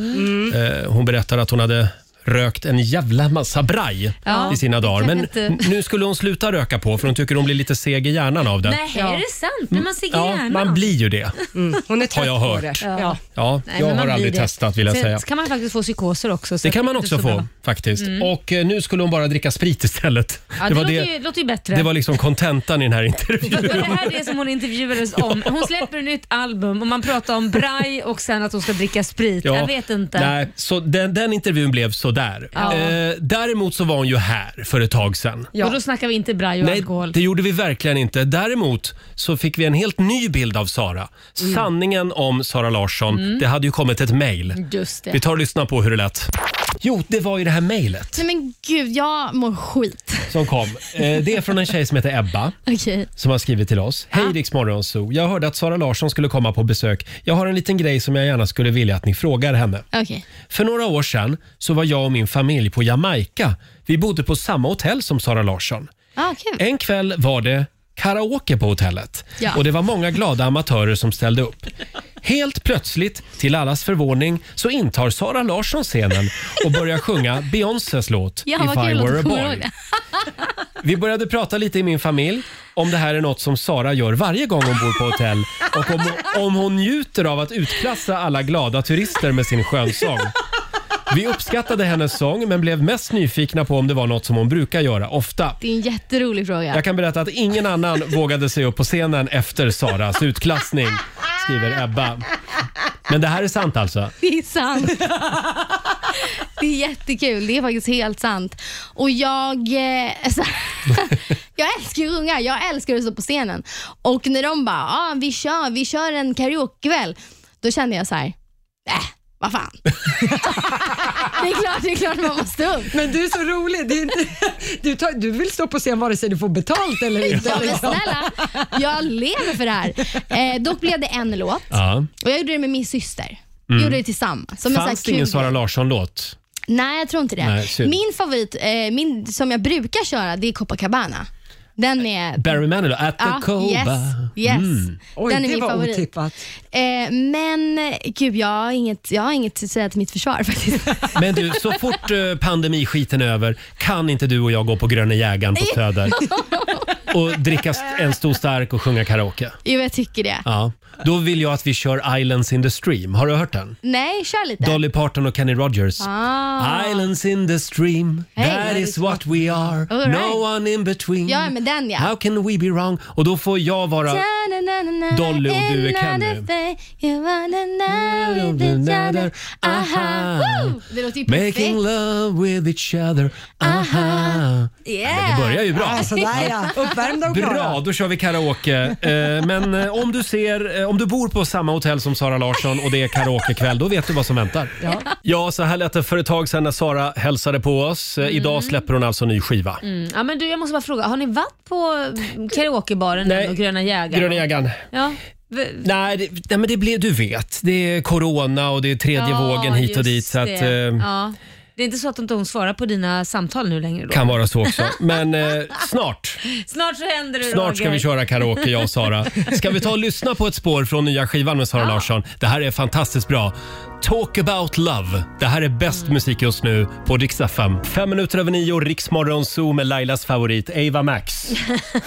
S4: Mm.
S1: Eh, hon berättar att hon hade rökt en jävla massa braj
S4: Ja,
S1: i sina
S4: det
S1: dagar.
S4: kan
S1: Men
S4: inte-
S1: n- nu skulle hon sluta röka på för hon tycker hon blir lite seg i hjärnan av det.
S4: Nej, är det sant? Men man ser
S1: Mm. Ja,
S4: gärna.
S1: man blir ju det.
S2: Mm, Hon är
S1: Har jag hört.
S4: Ja.
S1: Ja,
S4: Nej,
S1: jag
S4: men man
S1: har
S4: blir
S1: aldrig
S4: det.
S1: testat vill jag
S4: Sen
S1: säga.
S4: kan man faktiskt få psykoser också. så
S1: Det kan
S4: att
S1: man
S4: det
S1: också
S4: inte
S1: få
S4: så bra.
S1: faktiskt.
S4: Mm.
S1: Och eh, nu skulle hon bara dricka sprit istället.
S4: Ja, det, låter, ju, låter ju bättre.
S1: det var liksom kontentan i den här intervjun.
S4: Var det här det som hon intervjuades om? Hon släpper ett nytt album och man pratar om braj och sen att hon ska dricka sprit.
S1: Ja,
S4: Jag vet inte.
S1: Nej, så den, den intervjun blev sådär.
S4: Ja.
S1: Eh, däremot så var hon ju här för ett tag sedan.
S4: Och då snackar vi inte braj och
S1: Nej,
S4: alkohol.
S1: det gjorde vi verkligen inte. Däremot så fick vi en helt ny bild av Sara.
S4: Mm.
S1: Sanningen om Sara Larsson.
S21: Mm.
S1: Det hade ju kommit ett mejl.
S21: Just det.
S1: Vi tar och lyssnar på hur det lät. Jo, det var ju det här mejlet
S21: Nej men gud, jag mår skit.
S1: som kom. Eh, det är från en tjej som heter Ebba.
S21: Okej.
S1: som har skrivit till oss. Hej Rix Morgonzoo. Jag hörde att Sara Larsson skulle komma på besök. Jag har en liten grej som jag gärna skulle vilja att ni frågar henne.
S21: Okej.
S1: För några år sedan så var jag och min familj på Jamaica. Vi bodde på samma hotell som Sara Larsson.
S21: Ah, kul.
S1: En kväll var det karaoke på hotellet
S21: Ja.
S1: och det var många glada amatörer som ställde upp. Helt plötsligt, till allas förvåning, så intar Sara Larsson scenen och börjar sjunga Beyoncés låt
S21: Ja,
S1: If
S21: vad
S1: I
S21: kul
S1: were a
S21: att du kommer
S1: boy.
S21: ihåg det.
S1: Vi började prata lite i min familj om det här är något som Sara gör varje gång hon bor på hotell och om, om hon njuter av att utklassa alla glada turister med sin skönsång. Vi uppskattade hennes sång men blev mest nyfikna på om det var något som hon brukar göra ofta.
S21: Det är en jätterolig fråga.
S1: Jag kan berätta att ingen annan vågade sig upp på scenen efter Saras utklassning, skriver Ebba. Men det här är sant alltså?
S21: Det är sant. Det är jättekul. Det är faktiskt helt sant. Och jag... Eh, alltså, jag älskar ju att sjunga. Jag älskar att stå på scenen. Och när de bara, ah, vi kör, vi kör en karaokekväll. Då kände jag så här, äh, vad fan. det är klart, det är klart man måste upp.
S17: Men du är så rolig. Du, du, tar, du vill stå på scen vare sig du får betalt eller inte.
S21: Ja, men
S17: liksom.
S21: snälla, jag lever för det här. Eh, dock blev det en låt
S1: Ja.
S21: och jag gjorde det med min syster. Vi
S1: Mm.
S21: gjorde det tillsammans. Som en sån här
S1: Fanns det ingen
S21: kul-
S1: Sara Larsson-låt?
S21: Nej, jag tror inte det.
S1: Nej, synd.
S21: min favorit, eh, min, som jag brukar köra, det är Copacabana. Den är...
S1: Barry Manilow, At the
S21: Ja,
S1: Coba. Mm.
S21: yes, yes.
S17: Oj,
S21: den är
S17: det
S21: min
S17: var
S21: favorit.
S17: otippat.
S21: Eh, men eh, gud, jag har, inget, jag har inget att säga till mitt försvar faktiskt.
S1: Men du, så fort eh, pandemiskiten är över kan inte du och jag gå på Gröna jägaren på Söder och dricka st- en stor stark och sjunga karaoke?
S21: jo, jag tycker det.
S1: Ja. Då vill jag att vi kör Islands in the stream. Har du hört den?
S21: Nej, kör lite.
S1: Dolly Parton och Kenny Rogers.
S21: Ah.
S1: Islands in the stream,
S21: Hey,
S1: that
S21: that
S1: is what we are.
S21: All right.
S1: No one in between.
S21: Ja, men den ja.
S1: How can we be wrong? Och då får jag vara... Dolly och du är Kenny. Mm, Aha.
S21: Det låter ju perfekt.
S1: Making love with each other. Aha.
S21: Yeah.
S1: Det börjar ju bra.
S21: Ja, sådär, ja. Uppvärmda och
S1: Bra,
S21: klara.
S1: då kör vi karaoke. Eh, Men eh, om du, ser, eh, om du bor på samma hotell som Sara Larsson och det är karaokekväll, då vet du vad som väntar. Ja, så här lät det för ett tag sedan när Sara hälsade på oss. Eh, Idag släpper hon alltså ny skiva.
S4: Mm. Ja, men du, jag måste bara fråga, har ni varit på karaokebaren nu och Gröna jägaren?
S1: Gröna jägaren.
S4: Ja. V-
S1: Nej, det, nej, men det blir, du vet. Det är corona och det är tredje
S4: Ja,
S1: vågen hit och
S4: just
S1: dit. Så att, eh,
S4: det. ja. det är inte så att inte hon svarar på dina samtal nu längre? Då.
S1: Kan vara så också. Men eh, snart
S4: Snart så händer det
S1: Snart ska
S4: Roger.
S1: vi köra karaoke jag och Sara. Ska vi ta och lyssna på ett spår från nya skivan med Sara Larsson? Det här är fantastiskt bra. Talk about love. Det här är bäst
S4: Mm.
S1: musik just nu på Rix FM. Fem minuter över nio, Riksmorgon Zoo med Lailas favorit Ava Max.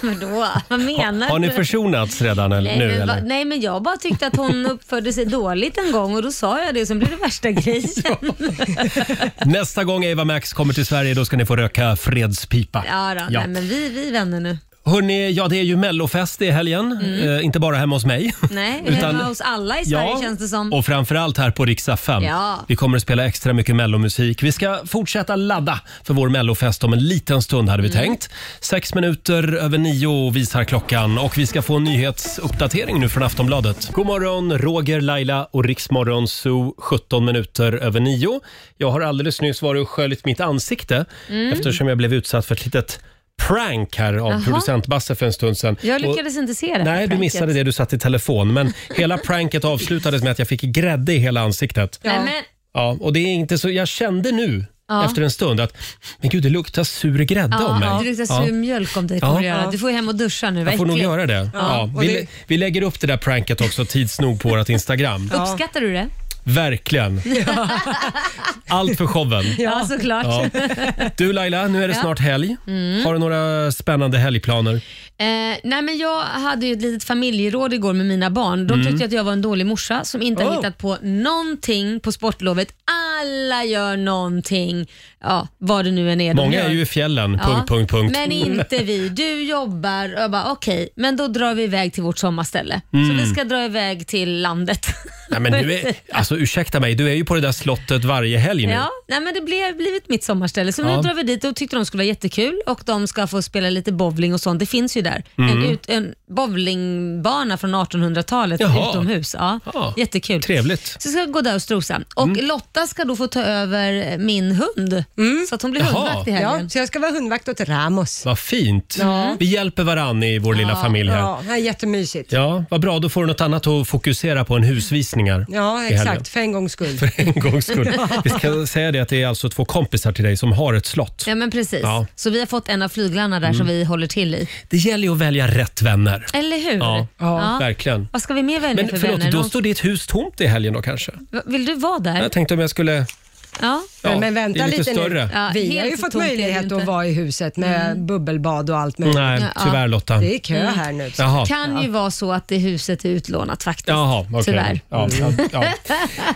S4: Vadå? Vad menar
S1: Har ni
S4: du?
S1: försonats redan eller,
S4: Nej,
S1: nu?
S4: men, va-
S1: Eller?
S4: nej men jag bara tyckte att hon uppförde sig dåligt en gång och då sa jag det, sen blev det värsta grejen.
S1: Nästa gång Ava Max kommer till Sverige då ska ni få röka fredspipa.
S4: Ja, då, Nej, men vi, vi är vänner nu.
S1: Hörrni, ja det är ju mellofest i helgen.
S4: Mm.
S1: Eh, inte bara hemma hos mig.
S4: Nej,
S1: Utan-
S4: hemma hos alla i Sverige
S1: Ja,
S4: känns det som.
S1: Och framförallt här på Rix FM.
S4: Mm. Ja.
S1: Vi kommer att spela extra mycket mellomusik. Vi ska fortsätta ladda för vår mellofest om en liten stund hade vi
S4: Mm.
S1: tänkt. Sex minuter över nio visar klockan och vi ska få en nyhetsuppdatering nu från Aftonbladet. God morgon, Roger, Laila och Riksmorgon Zoo 17 minuter över nio. Jag har alldeles nyss varit och sköljt mitt ansikte
S4: Mm.
S1: eftersom jag blev utsatt för ett litet prank här av
S4: Jaha.
S1: producent Basse för en stund sedan.
S4: Jag
S1: Och-
S4: lyckades inte se det. här
S1: Nej, du
S4: pranket.
S1: missade det. Du satt i telefon. Men hela pranket avslutades med att jag fick grädde i hela ansiktet.
S4: Nej, men,
S1: Ja, och det är inte så... Jag kände nu
S4: Ja.
S1: efter en stund att men gud, det luktar sur grädde om mig.
S4: ja, du luktar sur
S1: Ja.
S4: mjölk om dig kommer
S1: Ja.
S4: du göra. Du får hem och duscha nu.
S1: Jag får nog
S4: verkligen.
S1: göra det. Ja.
S4: och
S1: Vi,
S4: det-
S1: lä- vi lägger upp det där pranket också tids nog på vårt Instagram.
S4: Uppskattar du det?
S1: Verkligen. Allt för showen.
S4: Ja, såklart.
S1: Du Laila, nu är det
S4: Ja.
S1: snart helg.
S4: Mm.
S1: Har du några spännande helgplaner?
S4: Eh, nej men jag hade ju ett litet familjeråd igår med mina barn. De
S1: Mm.
S4: tyckte att jag var en dålig morsa som inte har
S1: Oh.
S4: hittat på någonting på sportlovet. Alla gör någonting, ja, vad det nu än är de
S1: Många
S4: gör.
S1: är ju i fjällen.
S4: Ja,
S1: Punkt, punkt, punkt.
S4: Men inte vi. Du jobbar och jag bara okej, men då drar vi iväg till vårt sommarställe.
S1: Mm.
S4: Så vi ska dra iväg till landet.
S1: Nej, men du är, alltså, ursäkta mig, du är ju på det där slottet varje helg nu.
S4: Ja, nej men det blev blivit mitt sommarställe. Så
S1: Ja.
S4: nu drar vi dit och tyckte de skulle vara jättekul och de ska få spela lite bowling och sånt. Det finns ju där.
S1: Mm.
S4: En, ut, en bowlingbana från 1800-talet
S1: Jaha.
S4: utomhus. Ja, Jättekul.
S1: Trevligt. Mm.
S4: Så ska vi gå där och strosa. Och Lotta ska då få ta över min hund. Så att hon blir
S1: Jaha.
S4: hundvakt i helgen.
S2: Ja, så jag ska vara hundvakt åt Ramos.
S1: Vad fint.
S2: Ja.
S1: Vi hjälper varann i vår lilla familj här.
S2: Ja, det här är jättemysigt.
S1: Ja, vad bra. Då får du något annat att fokusera på än husvisningar.
S2: Ja,
S1: i helgen.
S2: exakt. För en gångs skull.
S1: För en gångs skull. Vi ska säga det att det är alltså två kompisar till dig som har ett slott.
S4: Ja men precis.
S1: Ja.
S4: Så vi har fått en av flyglarna där
S1: Mm.
S4: som vi håller till i.
S1: Det gäller ju att välja rätt vänner.
S4: Eller hur?
S1: Ja,
S4: Ja.
S1: verkligen.
S4: Vad ska vi mer välja
S1: Men
S4: för
S1: förlåt,
S4: vänner?
S1: då
S4: Någon-
S1: står ditt hus tomt i helgen då kanske?
S4: Va- Vill du vara där?
S1: Jag tänkte om jag skulle...
S4: Ja.
S1: Ja, Men vänta det är lite lite nu. större. Ja,
S2: Vi
S4: helt
S2: har ju
S4: så
S2: fått
S4: tomt är det
S2: möjlighet
S4: inte. Mm.
S2: att vara i huset med bubbelbad och allt möjligt.
S1: Nej, tyvärr Lotta.
S2: Det är kö här nu.
S1: Jaha.
S4: kan ju vara så att det huset är utlånat faktiskt.
S1: Jaha, okej.
S4: Tyvärr.
S1: Ja, ja, ja.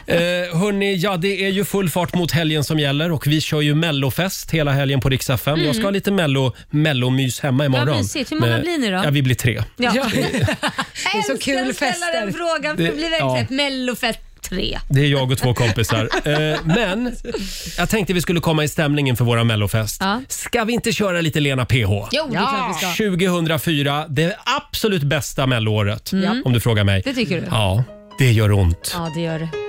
S1: Eh, hörni, ja, det är ju full fart mot helgen som gäller och vi kör ju mellofest hela helgen på Rix FM.
S4: Mm.
S1: Jag ska ha lite mello, mellomys hemma imorgon.
S4: Vad mysigt. Hur många
S1: Med-
S4: blir ni då?
S1: Ja, vi blir tre.
S4: Ja.
S2: Det är så kul
S4: ställa den frågan för
S1: Det-
S4: det blir verkligen
S1: ja.
S4: ett mellofett 3.
S1: Det är jag och två kompisar. Eh, men jag tänkte vi skulle komma i stämningen för våra mellofest.
S4: Ja.
S1: Ska vi inte köra lite Lena PH?
S4: Jo, det är klart vi ska.
S1: 2004, det absolut bästa melloåret
S4: Mm.
S1: om du frågar mig.
S4: Det tycker du?
S1: Ja, det gör ont.
S4: Ja, det gör det.